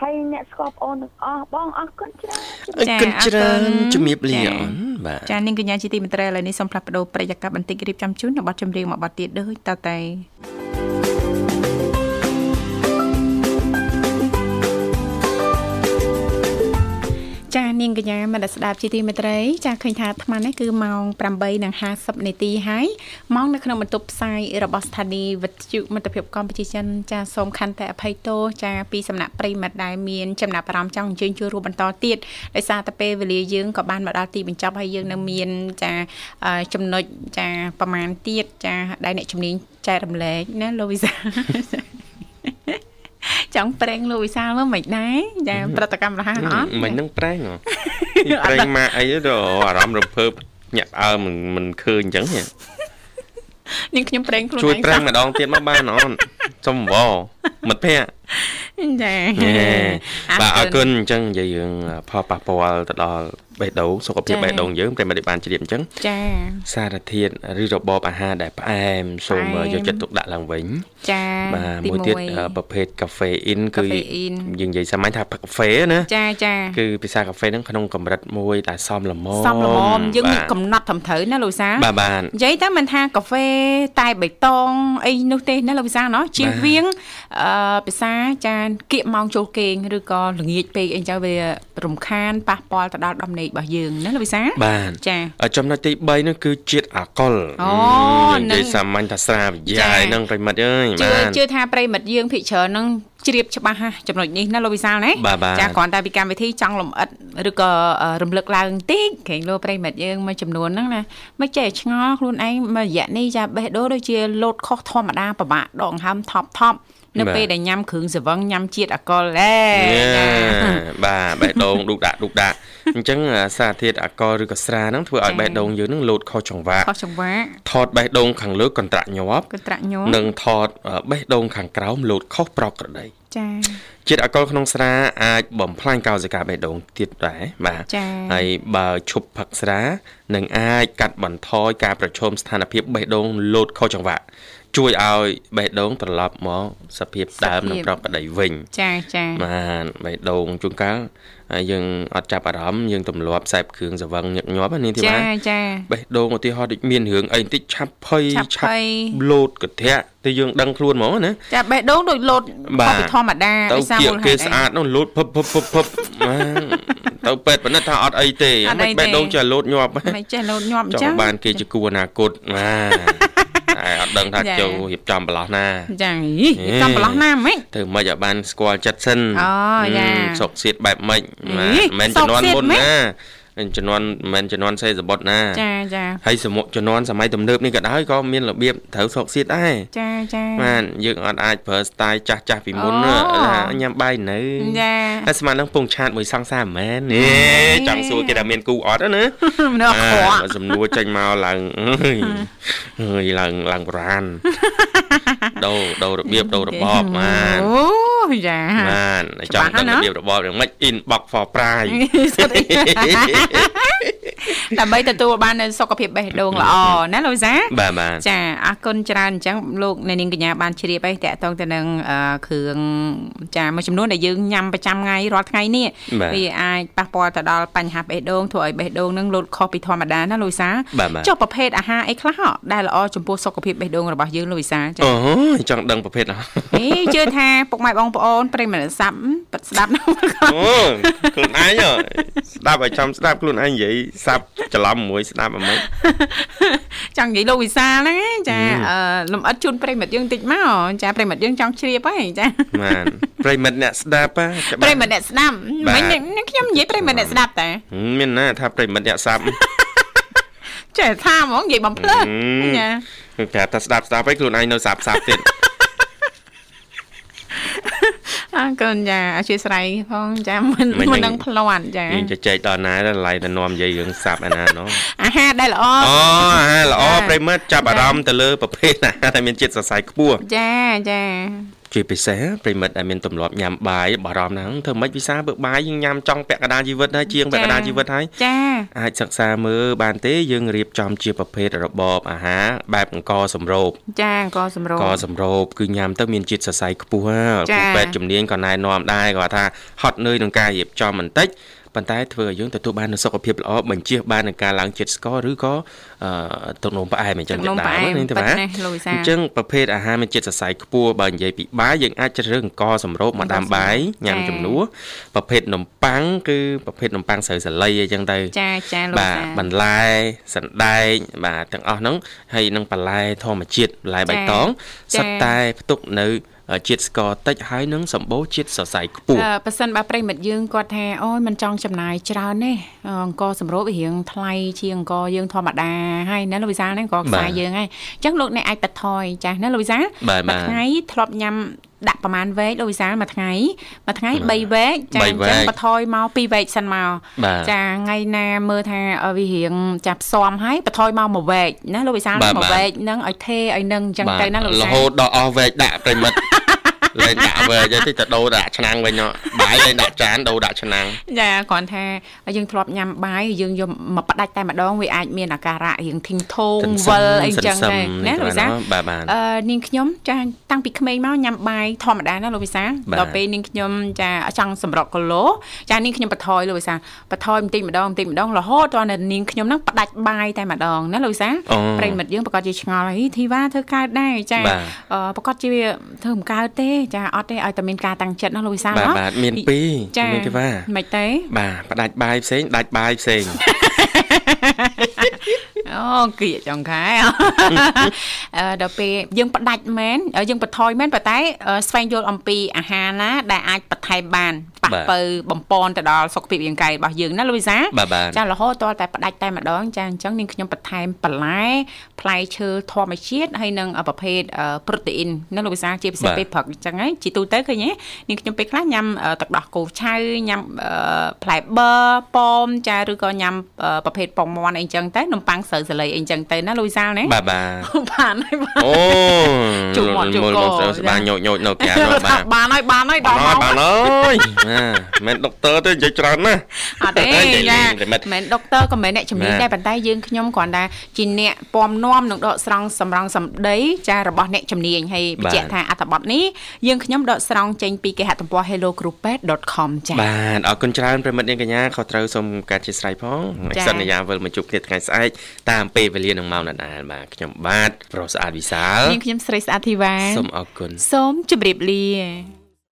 S5: ហើយអ្នកស្គាល់បងអូនទាំងអស់បងអរគុណច្រើន
S2: អើគិតច្រើនជំរាបលាអូនបាទ
S1: ចានាងកញ្ញាជាទីមន្ត្រីឥឡូវនេះសូមផ្លាស់ប្ដូរប្រយាករបន្តិចរៀបចំជូននៅប័ណ្ណចម្រៀងមួយប័ណ្ណទៀតដូចតតែ ចានាងកញ្ញាមនស្ដាប់ជាទីមេត្រីចាឃើញថាអាត្មានេះគឺម៉ោង8:50នាទីហើយម៉ោងនៅក្នុងបន្ទប់ផ្សាយរបស់ស្ថានីយ៍វិទ្យុមិត្តភាពកម្ពុជាចិនចាសូមខន្តីអភ័យទោសចាពីសំណាក់ប្រិយមិត្តដែលមានចំណាប់អារម្មណ៍ចង់អញ្ជើញចូលរួមបន្តទៀតដោយសារតែពេលវេលាយើងក៏បានមកដល់ទីបញ្ចប់ហើយយើងនៅមានចាអឺចំណុចចាប្រមាណទៀតចាដែលអ្នកជំនាញចែករំលែកណាលោកវិសា [laughs] ចង់ប្រេងលោកវិសាលមើលមិនដែរចាប្រតិកម្មរហ័សអត់
S2: មិននឹងប្រេងហ៎ពីប្រេងមកអីទៅអារម្មណ៍រំភើបញាក់ផ្អើលមិនមិនឃើញអញ្ចឹងហ៎
S1: នាងខ្ញុំប្រេងខ្លួន
S2: ជួយ
S1: ឯង
S2: ប្រេង
S1: សោះ
S2: ម្ដងទៀតមកបានអូនសុំអង្វរមិត្តភ័ក្តិ
S1: ចា
S2: ហេបាទអរគុណអញ្ចឹងនិយាយរឿងផលប៉ះពាល់ទៅដល់បេះដូងសុខភាពបេះដូងយើងប្រិយមិត្តដែលបានជ្រាបអញ្ចឹង
S1: ចា
S2: សារធាតុឬរបបអាហារដែលផ្អែមសូមយកចិត្តទុកដាក់ឡើងវិញ
S1: ចា
S2: បាទ
S1: ទី
S2: មួយទៀតអឺប្រភេទកាហ្វេអ៊ីនគឺ
S1: កាហ្វេអ៊ីន
S2: យើងនិយាយសាមញ្ញថាកាហ្វេណា
S1: ចាចា
S2: គឺភាសាកាហ្វេហ្នឹងក្នុងកម្រិតមួយដែលសមល្មម
S1: សំល្មមយើង
S2: បា
S1: មាន
S2: ទ
S1: កំណត់ត្រឹមត្រូវណាលោកវិសាល
S2: បាទបាទ
S1: និយាយតែមិនថាកាហ្វេតែបៃតងអីនោះទេណាលោកវិសាលណោះជៀស
S2: បាទ
S1: វាងអឺភាសាចាគៀកម៉ោងចូលគេងឬក៏ល្ងាចពេកអីចឹងវារំខានប៉ះពាល់ទៅដល់ដំណេករបស់យើងណាលោកវិសាល
S2: បាទ
S1: ចា
S2: អឺចំណុចទី3នោះគឺជាតិអាកុល
S1: អូ
S2: យើងនិយា
S1: ហ្នឹ
S2: យ
S1: ង
S2: សាមញ្ញថាស្រាវិទ្យា
S1: ចា៎
S2: ហ្នឹងប្រិមិត្តអើយ
S1: ជឿ
S2: បាទ
S1: ជឿថាប្រិមិត្តយើងភិកច្រើននឹងជ្រាបច្បាស់ណាស់ចំណុចនេះណាលោកវិសាលណា
S2: បាទបាទ
S1: គ្រាន់តែពីកម្មវិធីចង់លំអិតឬក៏អឺរំលឹកឡើងតិចក្រែងលោប្រិមិត្តយើងមួយចំនួនហ្នឹងណាមិនចេះឆ្ងល់ខ្លួនឯងមួយរយៈនេះចាបេះដូងដូចជាលោតខុសធម្មតាពិបាកដកដង្ហើមថប់ថប់ នៅ
S2: បាទ
S1: ពេលដែលញ៉ាំគ្រឿងសង្វឹងញ៉ាំជាតិអាកុលហេណា
S2: បាទបេះដូង [laughs] ឌុកដាក់ឌុកដាក់អញ្ចឹងអាសារធាតុអាកលឬក៏ស្រាហ្នឹងធ្វើឲ្យបេះដូងយើងហ្នឹងលោតខុសចង្វាក់
S1: ខុសចង្វាក់
S2: ថតបេះដូងខាងលើកន្ត្រាក់ញាប់
S1: គឺត្រាក់ញោម
S2: និងថតអឺបេះដូងខាងក្រោមលោតខុសប្រក្រតី
S1: ចា
S2: ជាតិអាកុលក្នុងស្រាអាចបំផ្លាញកោសិកាបេះដូងទៀតដែរបាទ
S1: ចា
S2: ហើយបើឈប់ផឹកស្រានឹងអាចកាត់បន្ថយការប្រឈមស្ថានភាពបេះដូងលោតខុសចង្វាក់ជួយឲ្យបេះដូងត្រឡប់មកសភាពដើមនឹងប្រក្រតីវិញ
S1: ចាចា
S2: បានបេះដូងជួនកាលហើយយើងអត់ចាប់អារម្មណ៍យើងទម្លាប់ខ្សែបគ្រឿងសង្វឹងញឹកញាប់ណានាងធី
S1: ចា
S2: វ៉ា
S1: ចា
S2: បេះដូងឧទាហរណ៍ដូចមានរឿងអីបន្តិចឆាប់ភ័យ
S1: ឆាប់ភ័យ
S2: លោតកន្ធាក់តែយើងដឹងខ្លួនហ្មងណា
S1: ចាបេះដូងដូចលោត
S2: បា
S1: ខុស
S2: ទ
S1: ពីធម្មតា
S2: ទៅ
S1: ដោយសារ
S2: គៀ
S1: មូ
S2: ក
S1: លហេ
S2: គេ
S1: តុអី
S2: ស្អាតនោះលោតភឹបភឹបភឹបភឹប
S1: [laughs]
S2: បានទៅពេទ្យប៉ណ្ណិតថាអត់អីទេ
S1: អត់អី
S2: មិនបេះ
S1: ទេ
S2: ដូងចេះលោតញាប់
S1: មិនចេះលោតញាប់អ
S2: ច
S1: ញ្ចឹ
S2: ង់
S1: ង
S2: បានគេជាគូអនាគត
S1: [laughs]
S2: បាទតែអត់ដឹងថា
S1: ចា
S2: ចូលរៀបចំប្រឡោះណា
S1: ចាហី
S2: ហេ
S1: កំប្រឡោះណាមិញ
S2: ធ្វើម៉េចឲ្យបានស្គាល់ចិត្តសិន
S1: អូយ៉ា
S2: សុកសៀតបែបម៉េច
S1: អី
S2: បាទមិនមែន
S1: សុ
S2: ជំ
S1: ខ
S2: នាន់
S1: សៀត
S2: មុន
S1: ម៉េច
S2: ណាជំនាន់មិនមែនជំនាន់សេសបុតណា
S1: ចាចា
S2: ហើយសម័យជំនាន់សម័យទំនើបនេះក៏ដោយក៏មានរបៀបត្រូវសុកសៀតដែរ
S1: ចាចា
S2: បាទយើងអត់អាចប្រើ style ចាស់ចាស់ពីមុន
S1: អូ
S2: ណាថាញ៉ាំបាយនៅ
S1: ចា
S2: តែស្មាននឹងពងឆាតមួយសង្សារមែនទេចង់សួរគេថាមានគូអត់ណា
S1: មនុស្សអខ្វក់
S2: បាទសំណួរចេញមកឡើងអើយអើយឡើងឡើងបរាន ដូរដូររបៀបដូររបបបាទ
S1: អូយ៉ា [laughs]
S2: បានចង់
S1: ច្បាស់
S2: ដឹង
S1: ណា
S2: របៀបរបបយ៉ាងម៉េច inbox for
S1: [laughs]
S2: prize [laughs]
S1: សុទ្ធទេដើម្បីទទួលបាននូវសុខភាពបេះដូងល្អណាលូយសា
S2: បាទបាទ
S1: ចាអរគុណច្រើនអញ្ចឹងលោកអ្នកនាងកញ្ញាបានជ្រាបហើយតាក់ទងទៅនឹងអឺគ្រឿងចាមួយចំនួនដែលយើងញ៉ាំប្រចាំថ្ងៃរាល់ថ្ងៃនេះ
S2: បាទ
S1: វាអាចប៉ះពាល់ទៅដល់បញ្ហាបេះដូងធ្វើឲ្យបេះដូងនឹងលោតខុសពីធម្មតាណាលូយសា
S2: បាទបាទ
S1: ចុះប្រភេទអាហារអីខ្លះដែលល្អចំពោះសុខភាពបេះដូងរបស់យើងលូយសាចា
S2: អូយចង់ដឹងប្រភេទអ្ហ៎
S1: ហេជឿថាពុកម៉ែបងប្អូនប្រិយមិត្តសាប់ប៉ិតស្ដាប់ណាស់
S2: អូខ្លួនឯង
S1: [laughs]
S2: ហ៎ស្ដាប់ឲ្យចំស្ដាប់ខ្លួនឯងនិយាយសាប់ច្រឡំមួយស្ដាប់អ្ហ្មង
S1: ចង់និយាយលោកវិសាលហ្នឹងឯងចា
S2: ហឹម
S1: អឺលំអិតជូនប្រិយមិត្តយើងតិចមកចាប្រិយមិត្តយើងចង់ជ្រាបហើយចា
S2: បានប្រិយមិត្តអ្នកស្ដាប់ហ៎ច្បាស់
S1: ប្រិយមិត្តអ្នកស្ដាប់
S2: បា
S1: មិ
S2: ទ
S1: ញនេះខ្ញុំនិយាយប្រិយមិត្តអ្នកស្ដាប់តែ
S2: ហឹមមានណាថាប្រិយមិត្តអ្នកសាប់
S1: [laughs] ចេះថាហ្មងនិយាយបំភ្លើត
S2: ហឹម
S1: ចា
S2: គឺប្រាប់ថាស្ដាប់ស្ដាប់ឲ្យខ្លួនឯងនៅសាប់សាប់ទៀត
S1: អរគុណចាអធិស្ឋានផងចាមិនមិននឹងភ្លាន់ចា
S2: យើងជជែកដល់ណាដល់ឡៃទៅនាំនិយាយរឿងសាប់អាណា
S1: [laughs]
S2: នោះ
S1: អាហារដែលល្អ
S2: អូអាហារល្អ
S1: ចា
S2: ប្រិយមិត្តចាប់អារម្មណ៍ទៅលើប្រភេទអាហារដែលមានជាតិសរសៃខ្ពស់
S1: ចាចា
S2: ជាពិសេសប្រិមិត្តដែលមានទម្លាប់ញ៉ាំបាយបារម្ភណាស់ធ្វើម៉េចវិសាបើបាយយើងញ៉ាំចង់ពាក់កណ្ដាលជីវិតហើយជាងពាក់កណ្ដាលជីវិតហើយ
S1: ចា
S2: អាចសិក្សាមើលបានទេយើងរៀបចំជាប្រភេទរបបអាហារបែបអង្គសម្រូប
S1: ចាអង្គសម្រួល
S2: ក៏សម្រូបគឺញ៉ាំទៅមានជាតិសរសៃខ្ពស់ហ่า
S1: ចា៎
S2: គ្រូពេទ្យជំនាញក៏ណែនាំដែរគាត់ថាហត់នឿយនឹងការរៀបចំបន្តិចប៉ុន្តែធ្វើឲ្យយើងទទួលបាននូវសុខភាពល្អបញ្ជៀសបាននឹងការឡើងជាតិស្ករឬក៏អឺទឹកនំផ្អែមអញ្ចឹង
S1: ចំណ
S2: ជា
S1: ង
S2: ដើ
S1: ផ្អែម
S2: ហ្នឹងទេ
S1: ប៉ិត
S2: បាទ
S1: ណាស់លោកវិសា
S2: អ
S1: ល
S2: ញ្ចឹងប្រភេទអាហារមានជាតិសរសៃខ្ពស់បើនិយាយពីបាយយើងអាចជ្រើសរើសអង្ករសម្រូបមកដាំបាយញ៉ាំ
S1: ចា៎
S2: ជំនួសប្រភេទនំប៉័ងគឺប្រភេទនំប៉័ងស្រូវសាលីអីចឹងទៅ
S1: ចាចាលោក
S2: បាទ
S1: សា
S2: បន្លែសណ្ដែកបាទទាំងអស់ហ្នឹងហើយនឹងបន្លែធម្មជាតិបន្លែបៃតង
S1: ចា៎
S2: សុទ្ធតែផ្ទុកនៅជាតិស្ករតិចហើយនឹងសម្បូរជាតិសរសៃខ្ពស់
S1: អឺប៉ះសិនបើប្រិមិត្តយើងគាត់ថាអូយមិនចង់ចំណាយច្រើនទេអឺអង្គសម្រូបវារៀងថ្លៃជាងអង្គយើងធម្មតាហើយណាលោកវិសាលហ្នឹងក៏ខ្សែ
S2: បាទ
S1: យើងហើយអញ្ចឹងលោកអ្នកអាចបិទថយចាស់ណាលោកវិសាល
S2: បាទ
S1: មួ
S2: បាទ
S1: យថ្ងៃធ្លាប់ញ៉ាំដាក់ប្រហែលវែកលោកវិសាលមួយថ្ងៃមួយថ្ងៃ
S2: បាទ
S1: 3វែកចា
S2: បី
S1: អញ្ចឹង
S2: វែក
S1: បិទថយមក2វែកសិនមក
S2: បាទ
S1: ចាថ្ងៃណាមើលថាអឺវារៀងចាផ្សំហើយបិទថយមកមួយវែកណាលោកវិសាល
S2: បាទ
S1: មួយ
S2: បាទ
S1: វែកហ្នឹងឲ្យថេឲ្យនឹងអញ្ចឹង
S2: បាទ
S1: ទៅណាលោកវិ
S2: រ
S1: សាល
S2: ហូតដល់អស់វែកដាក់ប្រិ
S1: [laughs]
S2: មិត្ត លែងដាក់វែកហើយតិចទៅដូរដាក់ឆ្នាំងវិញមកបាយលែងដាក់ចានដូរដាក់ឆ្នាំង
S1: ចាគ្រាន់ថាយើងធ្លាប់ញ៉ាំបាយយើងយកមកផ្ដាច់តែម្ដងវាអាចមានអាការៈរៀងធីងធងវិលអីចឹងដែរណាលោកវិសាល
S2: បាទបាទ
S1: អឺនាងខ្ញុំចាតាំងពីក្មេងមកញ៉ាំបាយធម្មតាណាលោកវិសាល
S2: បាទ
S1: ដល់ពេលនាងខ្ញុំចាចង់សម្រក់គីឡូចានាងខ្ញុំបន្ថយលោកវិសាលបន្ថយបន្តិចម្ដងបន្តិចម្ដងរហូតដល់នៅនាងខ្ញុំហ្នឹងផ្ដាច់បាយតែម្ដងណាលោកវិសាល
S2: អូ
S1: ប្រិយមិត្តយើងប្រកាសជាឆ្ងល់ហីធីវ៉ាធ្វើកើតដែរចា
S2: បាទ
S1: អឺប្រកាសជាធ្វើមិនកើតទេចាអត់ទេឲ្យតែមានការតាំងចិត្តណាលោកវិសាល
S2: បាទ
S1: ណោះ
S2: បាទមានពីរ
S1: ចា
S2: មានទេវ៉ា
S1: មិនទេ
S2: បាទផ្ដាច់បាយផ្សេងដាច់បាយផ្សេង
S1: [laughs] អូគៀកចុងខែ [laughs] អឺដល់ពេលយើងផ្ដាច់មែនយើងបន្ថយមែនប៉ុន្តែអឺស្វែងយល់អំពីអាហារណាដែលអាចបន្ថែមបានប្រ ប៉ះ
S2: បាទ
S1: ពៅបំពន់ទៅដល់សុខភាពរាងកាយរបស់យើងណាលូយសា
S2: បាទបាទ
S1: ចារហូតតតែផ្ដាច់តែម្ដងចាអញ្ចឹងនាងខ្ញុំបន្ថែមបន្លែផ្លែឈើធម្មជាតិហើយនិងប្រភេទអឺប្រូតេអ៊ីនណាលូយសាជាពិសេស
S2: បាទ
S1: ពេលព្រឹកអញ្ចឹងហើយជីទូទៅឃើញទេនាងខ្ញុំពេលខ្លះញ៉ាំអឺទឹកដោះគោឆៅញ៉ាំអឺផ្លែបឺប៉ោមចាឬក៏ញ៉ាំអឺប្រភេទពងមាន់អីអញ្ចឹងទៅនំប៉័ងស្រូវសាលីអីអញ្ចឹងទៅណាលូយសា [laughs] ណា
S2: បាទបាទ
S1: បានហើយបាទ
S2: អូ
S1: ជុំមាត់ជុំ
S2: ល
S1: ក
S2: មកស្រូវស្បា
S1: ចា
S2: ញញោចញោចៗនៅ
S1: [laughs]
S2: កានោះបាទ
S1: បានហើយបានហើយ
S2: បា
S1: ដល់
S2: ន
S1: ម៉ោង
S2: ហើយបានអើ [laughs] យណាមិនដុកទ័រទេនិយាយច្រើនណាស់
S1: អត់ទេ
S2: អត់
S1: ចា
S2: ទេនិយាយនិមិត្ត
S1: មិនដុកទ័រក៏មិនអ្នកជំនាញ
S2: ណា
S1: ដែរប៉ុន្តែយើងខ្ញុំគ្រាន់តែជាអ្នកពំនាំ និងដកស្រង់សម្រង់សម្ដីចារបស់អ្នកជំនាញហើយបញ្ជាក់ថាអត្ថបទនេះយើងខ្ញុំដកស្រង់ចេញពីគេហទំព័រ hellogroup.com ចា
S2: បាទអរគុណច្រើនប្រិមិត្តនាងកញ្ញាខុសត្រូវសូមការជាស្រ័យផង
S1: ចា៎
S2: សន្យាវិលមកជួបគ្នាថ្ងៃស្អែកតាមពេលវេលានឹងម៉ោងដដែលបាទខ្ញុំបាទប្រុសស្អាតវិសាល
S1: នាងខ្ញុំស្រីស្អាតធីវ៉ា
S2: សូមអរគុណ
S1: សូមជម្រាបលា